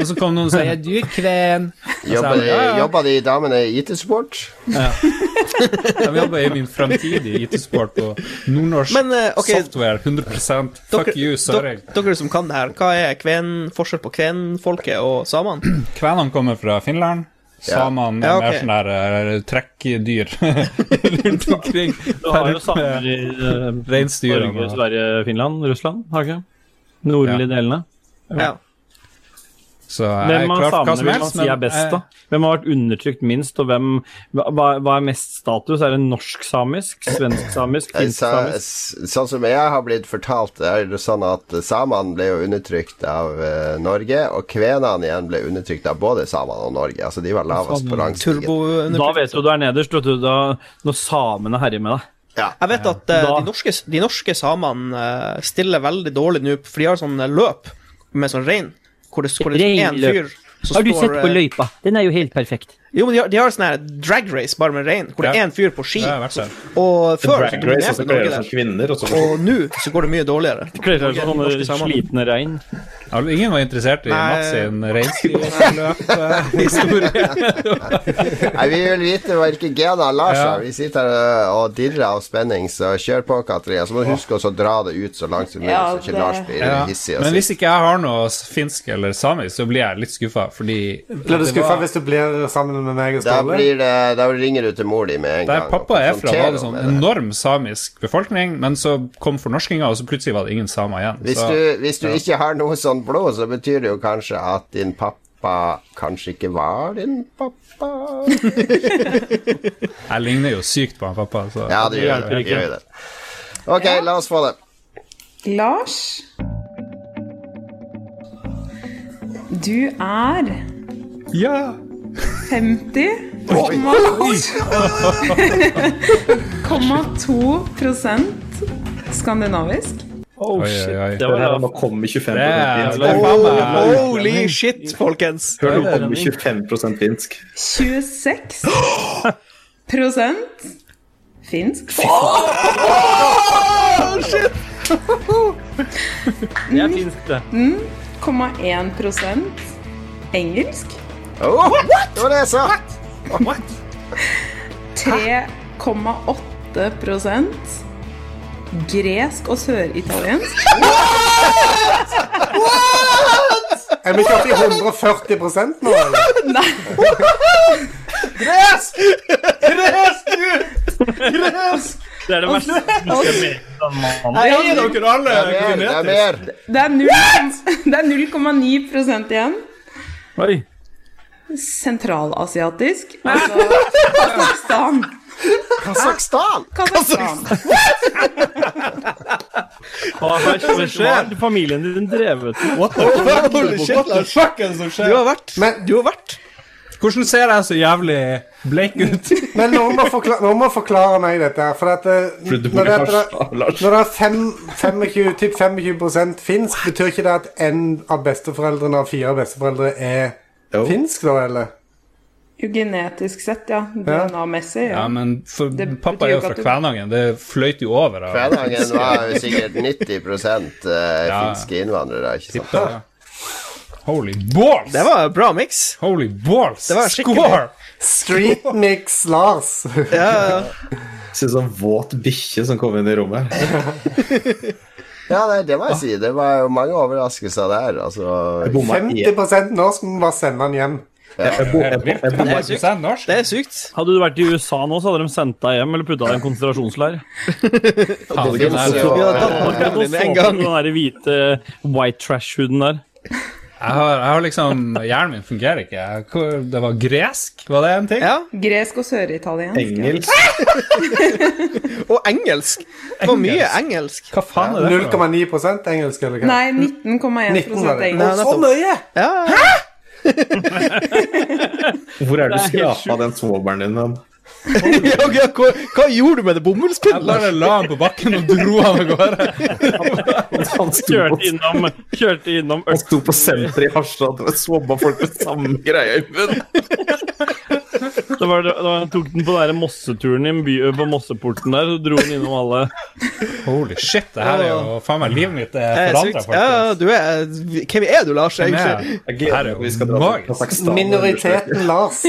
og så kom noen og sa 'Ja, du er kven'. Og så jeg Jobber bare, de, «Ja, ja, jobber de damene i IT-support? De jobber i min framtidige IT-sport på nordnorsk Men, eh, ok, software. 100 Fuck you, sorry. dere, dere som kan det her, hva er kven, forskjell på kvenfolket og samene? Kvenene kommer fra Finland. Samene Ja, er ok. mer sånn der eh, trekkdyr rundt omkring. Du har jo samer i eh, Reinsdyr og Norge, Sverige, Finland, Russland, har ikke? Nordlige delene. Ja. Så jeg er Hvem av klar for hva samene vil som man helst, eh, si er best, da? Hvem har vært undertrykt minst, og hvem Hva, hva er mest status? Er det norsk-samisk, svensk-samisk, Eh, så- finsk-samisk? s- Sånn som jeg har blitt fortalt, er det sånn at samene ble jo undertrykt av eh, Norge, og kvenene igjen ble undertrykt av både samene og Norge. Altså, de var lavest på rangstigen. Turbo Da vet du du er nederst, vet du, da, når samene herjer med deg. Jeg vet at eh, Da- de, norske, de norske samene eh, stiller veldig dårlig nå, for de har sånn eh, løp med sånn rein. Hvor det, hvor det er en Reinløp. fyr som står eh, løypa? Den er jo helt perfekt. Jo, men de har, de har sånn her drag race bare med rein, hvor det Ja. er en fyr på ski. Jeg har vært der. Og før så Drag Race, og så dominerte kler de Norge seg sånn som der. kvinner. Og så Og nå så går det mye dårligere. Kler seg som Norske sånne samene. slitne rein. Al- Ingen var interessert i Nei. Mats sin reinsdyrløp-historie. Nei, vi vil vite hvilke gener Lars Ja. har. Vi sitter her og dirrer av spenning, så kjør på, Katrine. Så må du huske også å dra det ut så langt som mulig, Ja, så ikke det- Lars blir Ja. hissig. altså. og Men sint. hvis ikke jeg har noe s- finsk eller samisk, så blir jeg litt skuffa, fordi Blir du det skuffa var- hvis du blir sammen med meg og Da, Ståle? blir det, da ringer du til mor di med en Der gang. pappa og er fra, var det konfronterer sånn henne med det. enorm samisk befolkning, men så kom fornorskinga, og så plutselig var det ingen samer igjen. Hvis Så du, hvis du ikke har noe sånt blod, så betyr det jo kanskje at din pappa kanskje ikke var din pappa. jeg ligner jo sykt på han pappa, så Ja, det gjør hjelper det. ikke. Gjør det. Ok, la oss få det. Lars, du er Ja! 50,2 skandinavisk. Oh, Oi, shit. oi, oi. Det var Nå det. nå kommer 25 Det er finsk. det er faen meg Holy shit, folkens! Hør, nå kommer 25 finsk. 26 finsk. Det er finsk, det. 19,1 engelsk. Oh, det var det jeg sa! 3,8 gresk og søritaliensk. Er vi ikke oppe i 140 nå, eller? Det er det verste som skjer med en mann. Jeg gir dere alle! Det er mer. Det er mer. Det er null- det er 0,9 igjen. Oi. Sentralasiatisk. Altså Kasakhstan. Kasakhstan! Kasakhstan. Hva er det som skjer? Familien din drevet Holy shit, Lars. Du har vært, Men- du har vært Hvordan ser jeg så jævlig bleik ut? Men noen må, forklare, noen må forklare meg dette. her, For at eh, For du bor når det, i når det, Harstad, Lars. når det er fem, 25, typ 25 finsk, betyr ikke det at én av besteforeldrene av fire besteforeldre er Jo. finsk, da, eller? Jo, genetisk sett, ja. Ja. DNA-messig. Ja. Ja, men for, Det pappa betyr er jo jo ikke fra at du- Kvænangen. Det fløyt jo over. av- Kvænangen var jo sikkert 90 eh, Ja. finske innvandrere, ikke sant? Tipper, ja. Holy balls! Det var en bra miks. Holy balls! Det var skikkelig. Score! Street Mix Lars. Ja, ja. Ser ut som en sånn våt bikkje som kom inn i rommet. Ja, nei, det må jeg si. Det var jo mange overraskelser der. Jeg Altså, bomma én- 50 norsk må bare sende den hjem. jeg bo- jeg bo- jeg bomma- 100% norsk. det er sykt. Hadde du vært i USA nå, så hadde de sendt deg hjem eller putta deg i en konsentrasjonsleir. Faen, det finnes det er- jo Vi hadde eh, tatt Hadde barna du dine så en på gang. den der hvite white trash-huden der. Jeg har, jeg har liksom Hjernen min fungerer ikke. Jeg, hvor- det var gresk, var det en ting? Ja, Gresk og søritaliensk. ja. engelsk. Og engelsk. Det var mye engelsk. Hva faen er det? for noe? 0,9 engelsk, eller hva? Nei, 19,1 19 var det. engelsk. Så mye! Ja, ja. Hvor er det du Det er helt skrapa den svoberen din? hen? Ja, ok, hva, hva gjorde du med det Jeg bomullspinnet? bare la han på bakken og dro han av gårde. Han sto Kjørte på, innom, kjørte innom han sto på senteret i Harstad og svobba folk med samme greia i munnen. Det var, det, det var, han tok den på den der mosseturen i by, på mosseporten der, så dro han innom alle Holy shit, det her er jo faen meg livet mitt er Eh, forandra, sykt. Ja, folkens. du er Hvem er du, Lars, egentlig? Jeg Det gleder her meg er til vi skal jo dra til magisk. Kasakhstan. Minoriteten Lars.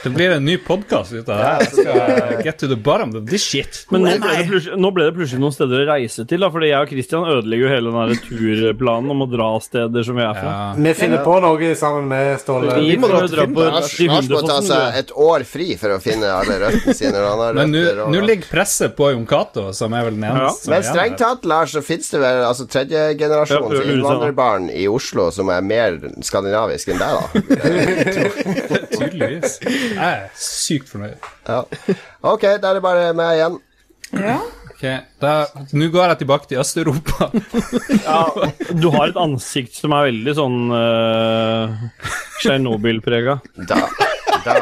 Det blir en ny podkast ut av det her. Jeg skal get to the bottom of this shit. Men nå ble, det plutselig, nå ble det plutselig noen steder å reise til, da, fordi jeg og Christian ødelegger jo hele den der turplanen om å dra steder som vi er fra. Ja. Vi finner på noe sammen med Ståle. Vi må dra skal jo til dra på Lars, Lars må ta Hundefossen, seg et år fri for å finne alle røttene sine. når Han har Men nå røtter og- nå ligger presset på Jon Cato, som er vel den Ja. eneste som Men er igjen strengt tatt, Lars, så fins det vel altså, Ja, tredjegenerasjons det lurer seg, da. innvandrerbarn i Oslo som er mer skandinavisk enn deg, da. der, tydeligvis. Jeg er sykt fornøyd. Ja. Ok, da er det bare meg igjen. Ja. Ok, da, Nå går jeg tilbake til Øst-Europa. du, du har et ansikt som er veldig sånn uh, Tsjernobyl-prega. Da. da.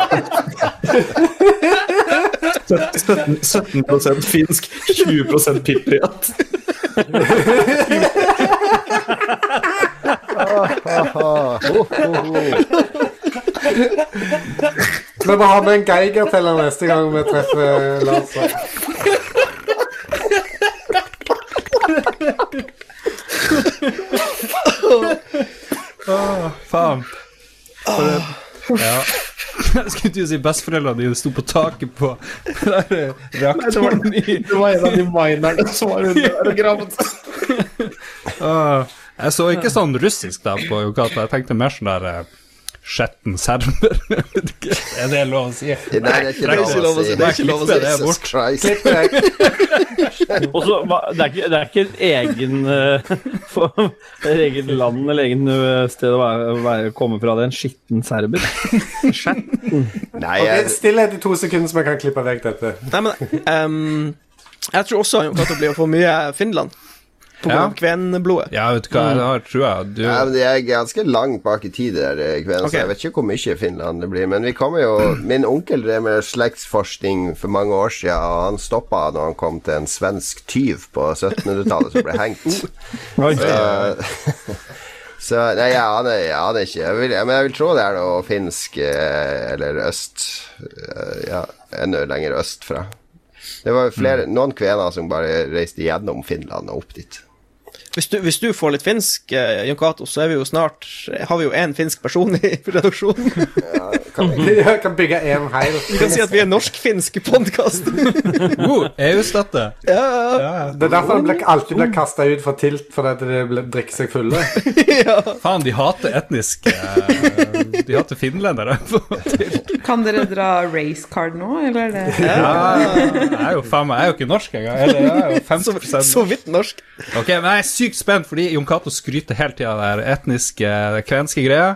17, 17 finsk, 20 pipriat. Aha. Ho, ho, ho. Vi må ha med en Geiger-teller neste gang vi treffer eh, Lars. Ah. Faen. For det, ja. Jeg skulle til å si besteforeldrene dine sto på taket på der, eh, reaktoren i Det var en av de minerne som var under der og gravd. Ah, Jeg så ikke sånn russisk da på Yokata. Jeg tenkte mer sånn der eh, Skjetten serber. Jeg vet ikke, er det lov å si? Nei, det er ikke Nei, lov å si. Det er ikke lov å si. Det er Jesus bort. Christ. Klipp vekk. Og så hva- Det er ikke, det er ikke et egen eh, for, et eget land eller egen eh, sted å være, være, komme fra. Det er en skitten serber. Nei, Ok, jeg, Stillhet i to sekunder, så vi kan klippe vekk dette. Nei, men ehm, Jeg tror også han kommer til å bli å få mye Finland. På grunn av kvenblodet. Ja, vet du hva, det har, tror jeg du Ja, men det er ganske langt bak i tid der, eh, Kven, Ok. så jeg vet ikke hvor mye Finland det blir. Men vi kommer jo Min onkel drev med slektsforskning for mange år siden, og han stoppa når han kom til en svensk tyv på 1700-tallet som ble hengt. Eh, Så nei, jeg aner, jeg aner ikke. Jeg vil, men jeg vil tro det er noe finsk eh, eller øst eh, Ja, enda lenger øst fra. Det var flere, noen kvener som bare reiste gjennom Finland og opp dit. Hvis, du- hvis du får litt finsk, eh, Jon Cato, så er vi jo snart Har vi jo én finsk person i redaksjonen. Jeg kan bygge en heil. Vi kan si at vi er norsk-finsk podkast. oh, EU-støtte! Ja, Det er derfor de alltid blir kasta ut fra tilt fordi de blir- drikker seg fulle. ja. Faen, de hater etniske eh, De hater finlendere. Kan dere dra racecard nå, eller er det Jeg er jo faen meg Jeg er jo ikke norsk engang. Eller jeg er jo 50 Så vidt norsk. Ok, men jeg er sykt spent, fordi Jon Cato skryter hele tida av det her etniske, det kvenske greia.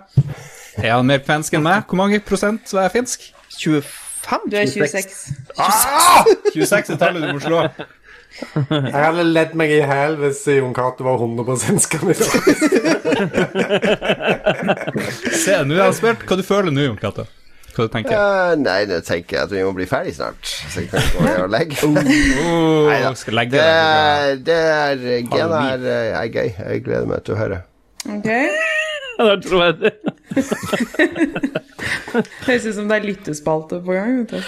Er han mer kvensk enn meg? Hvor mange prosent er jeg finsk? 25? Du er 26. 26 er tallet du må slå. Jeg hadde ledd meg i hæl hvis Jon Cato var 100 skandinavisk. Se, nå er han spilt. Hva du føler nå, Jon Cato? Hva du tenker Eh, nei, det tenker jeg at vi må bli ferdig snart. Så jeg kan gå ned og legge. Oh, Neida. skal legge Det, deg. det er Gen er, eh, er gøy. Jeg gleder meg til å høre. Ok. Ja, der tror jeg det. Høres ut som det er lyttespalte på gang. Vet du.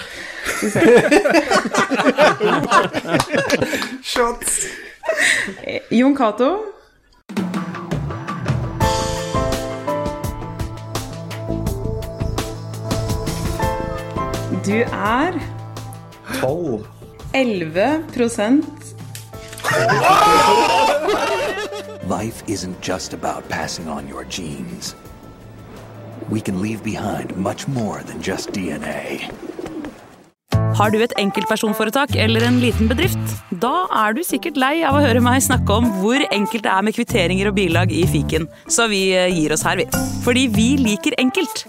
Shots! Eh, Jon Cato, du er 12. 11 Life isn't just about passing on your genes. We can leave behind much more than just DNA. Har du et enkeltpersonforetak eller en liten bedrift? Da er du sikkert lei av å høre meg snakke om hvor enkelt det er med kvitteringer og bilag i fiken, så vi gir oss her, vi. Fordi vi liker enkelt.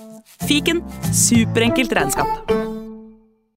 Fiken superenkelt regnskap.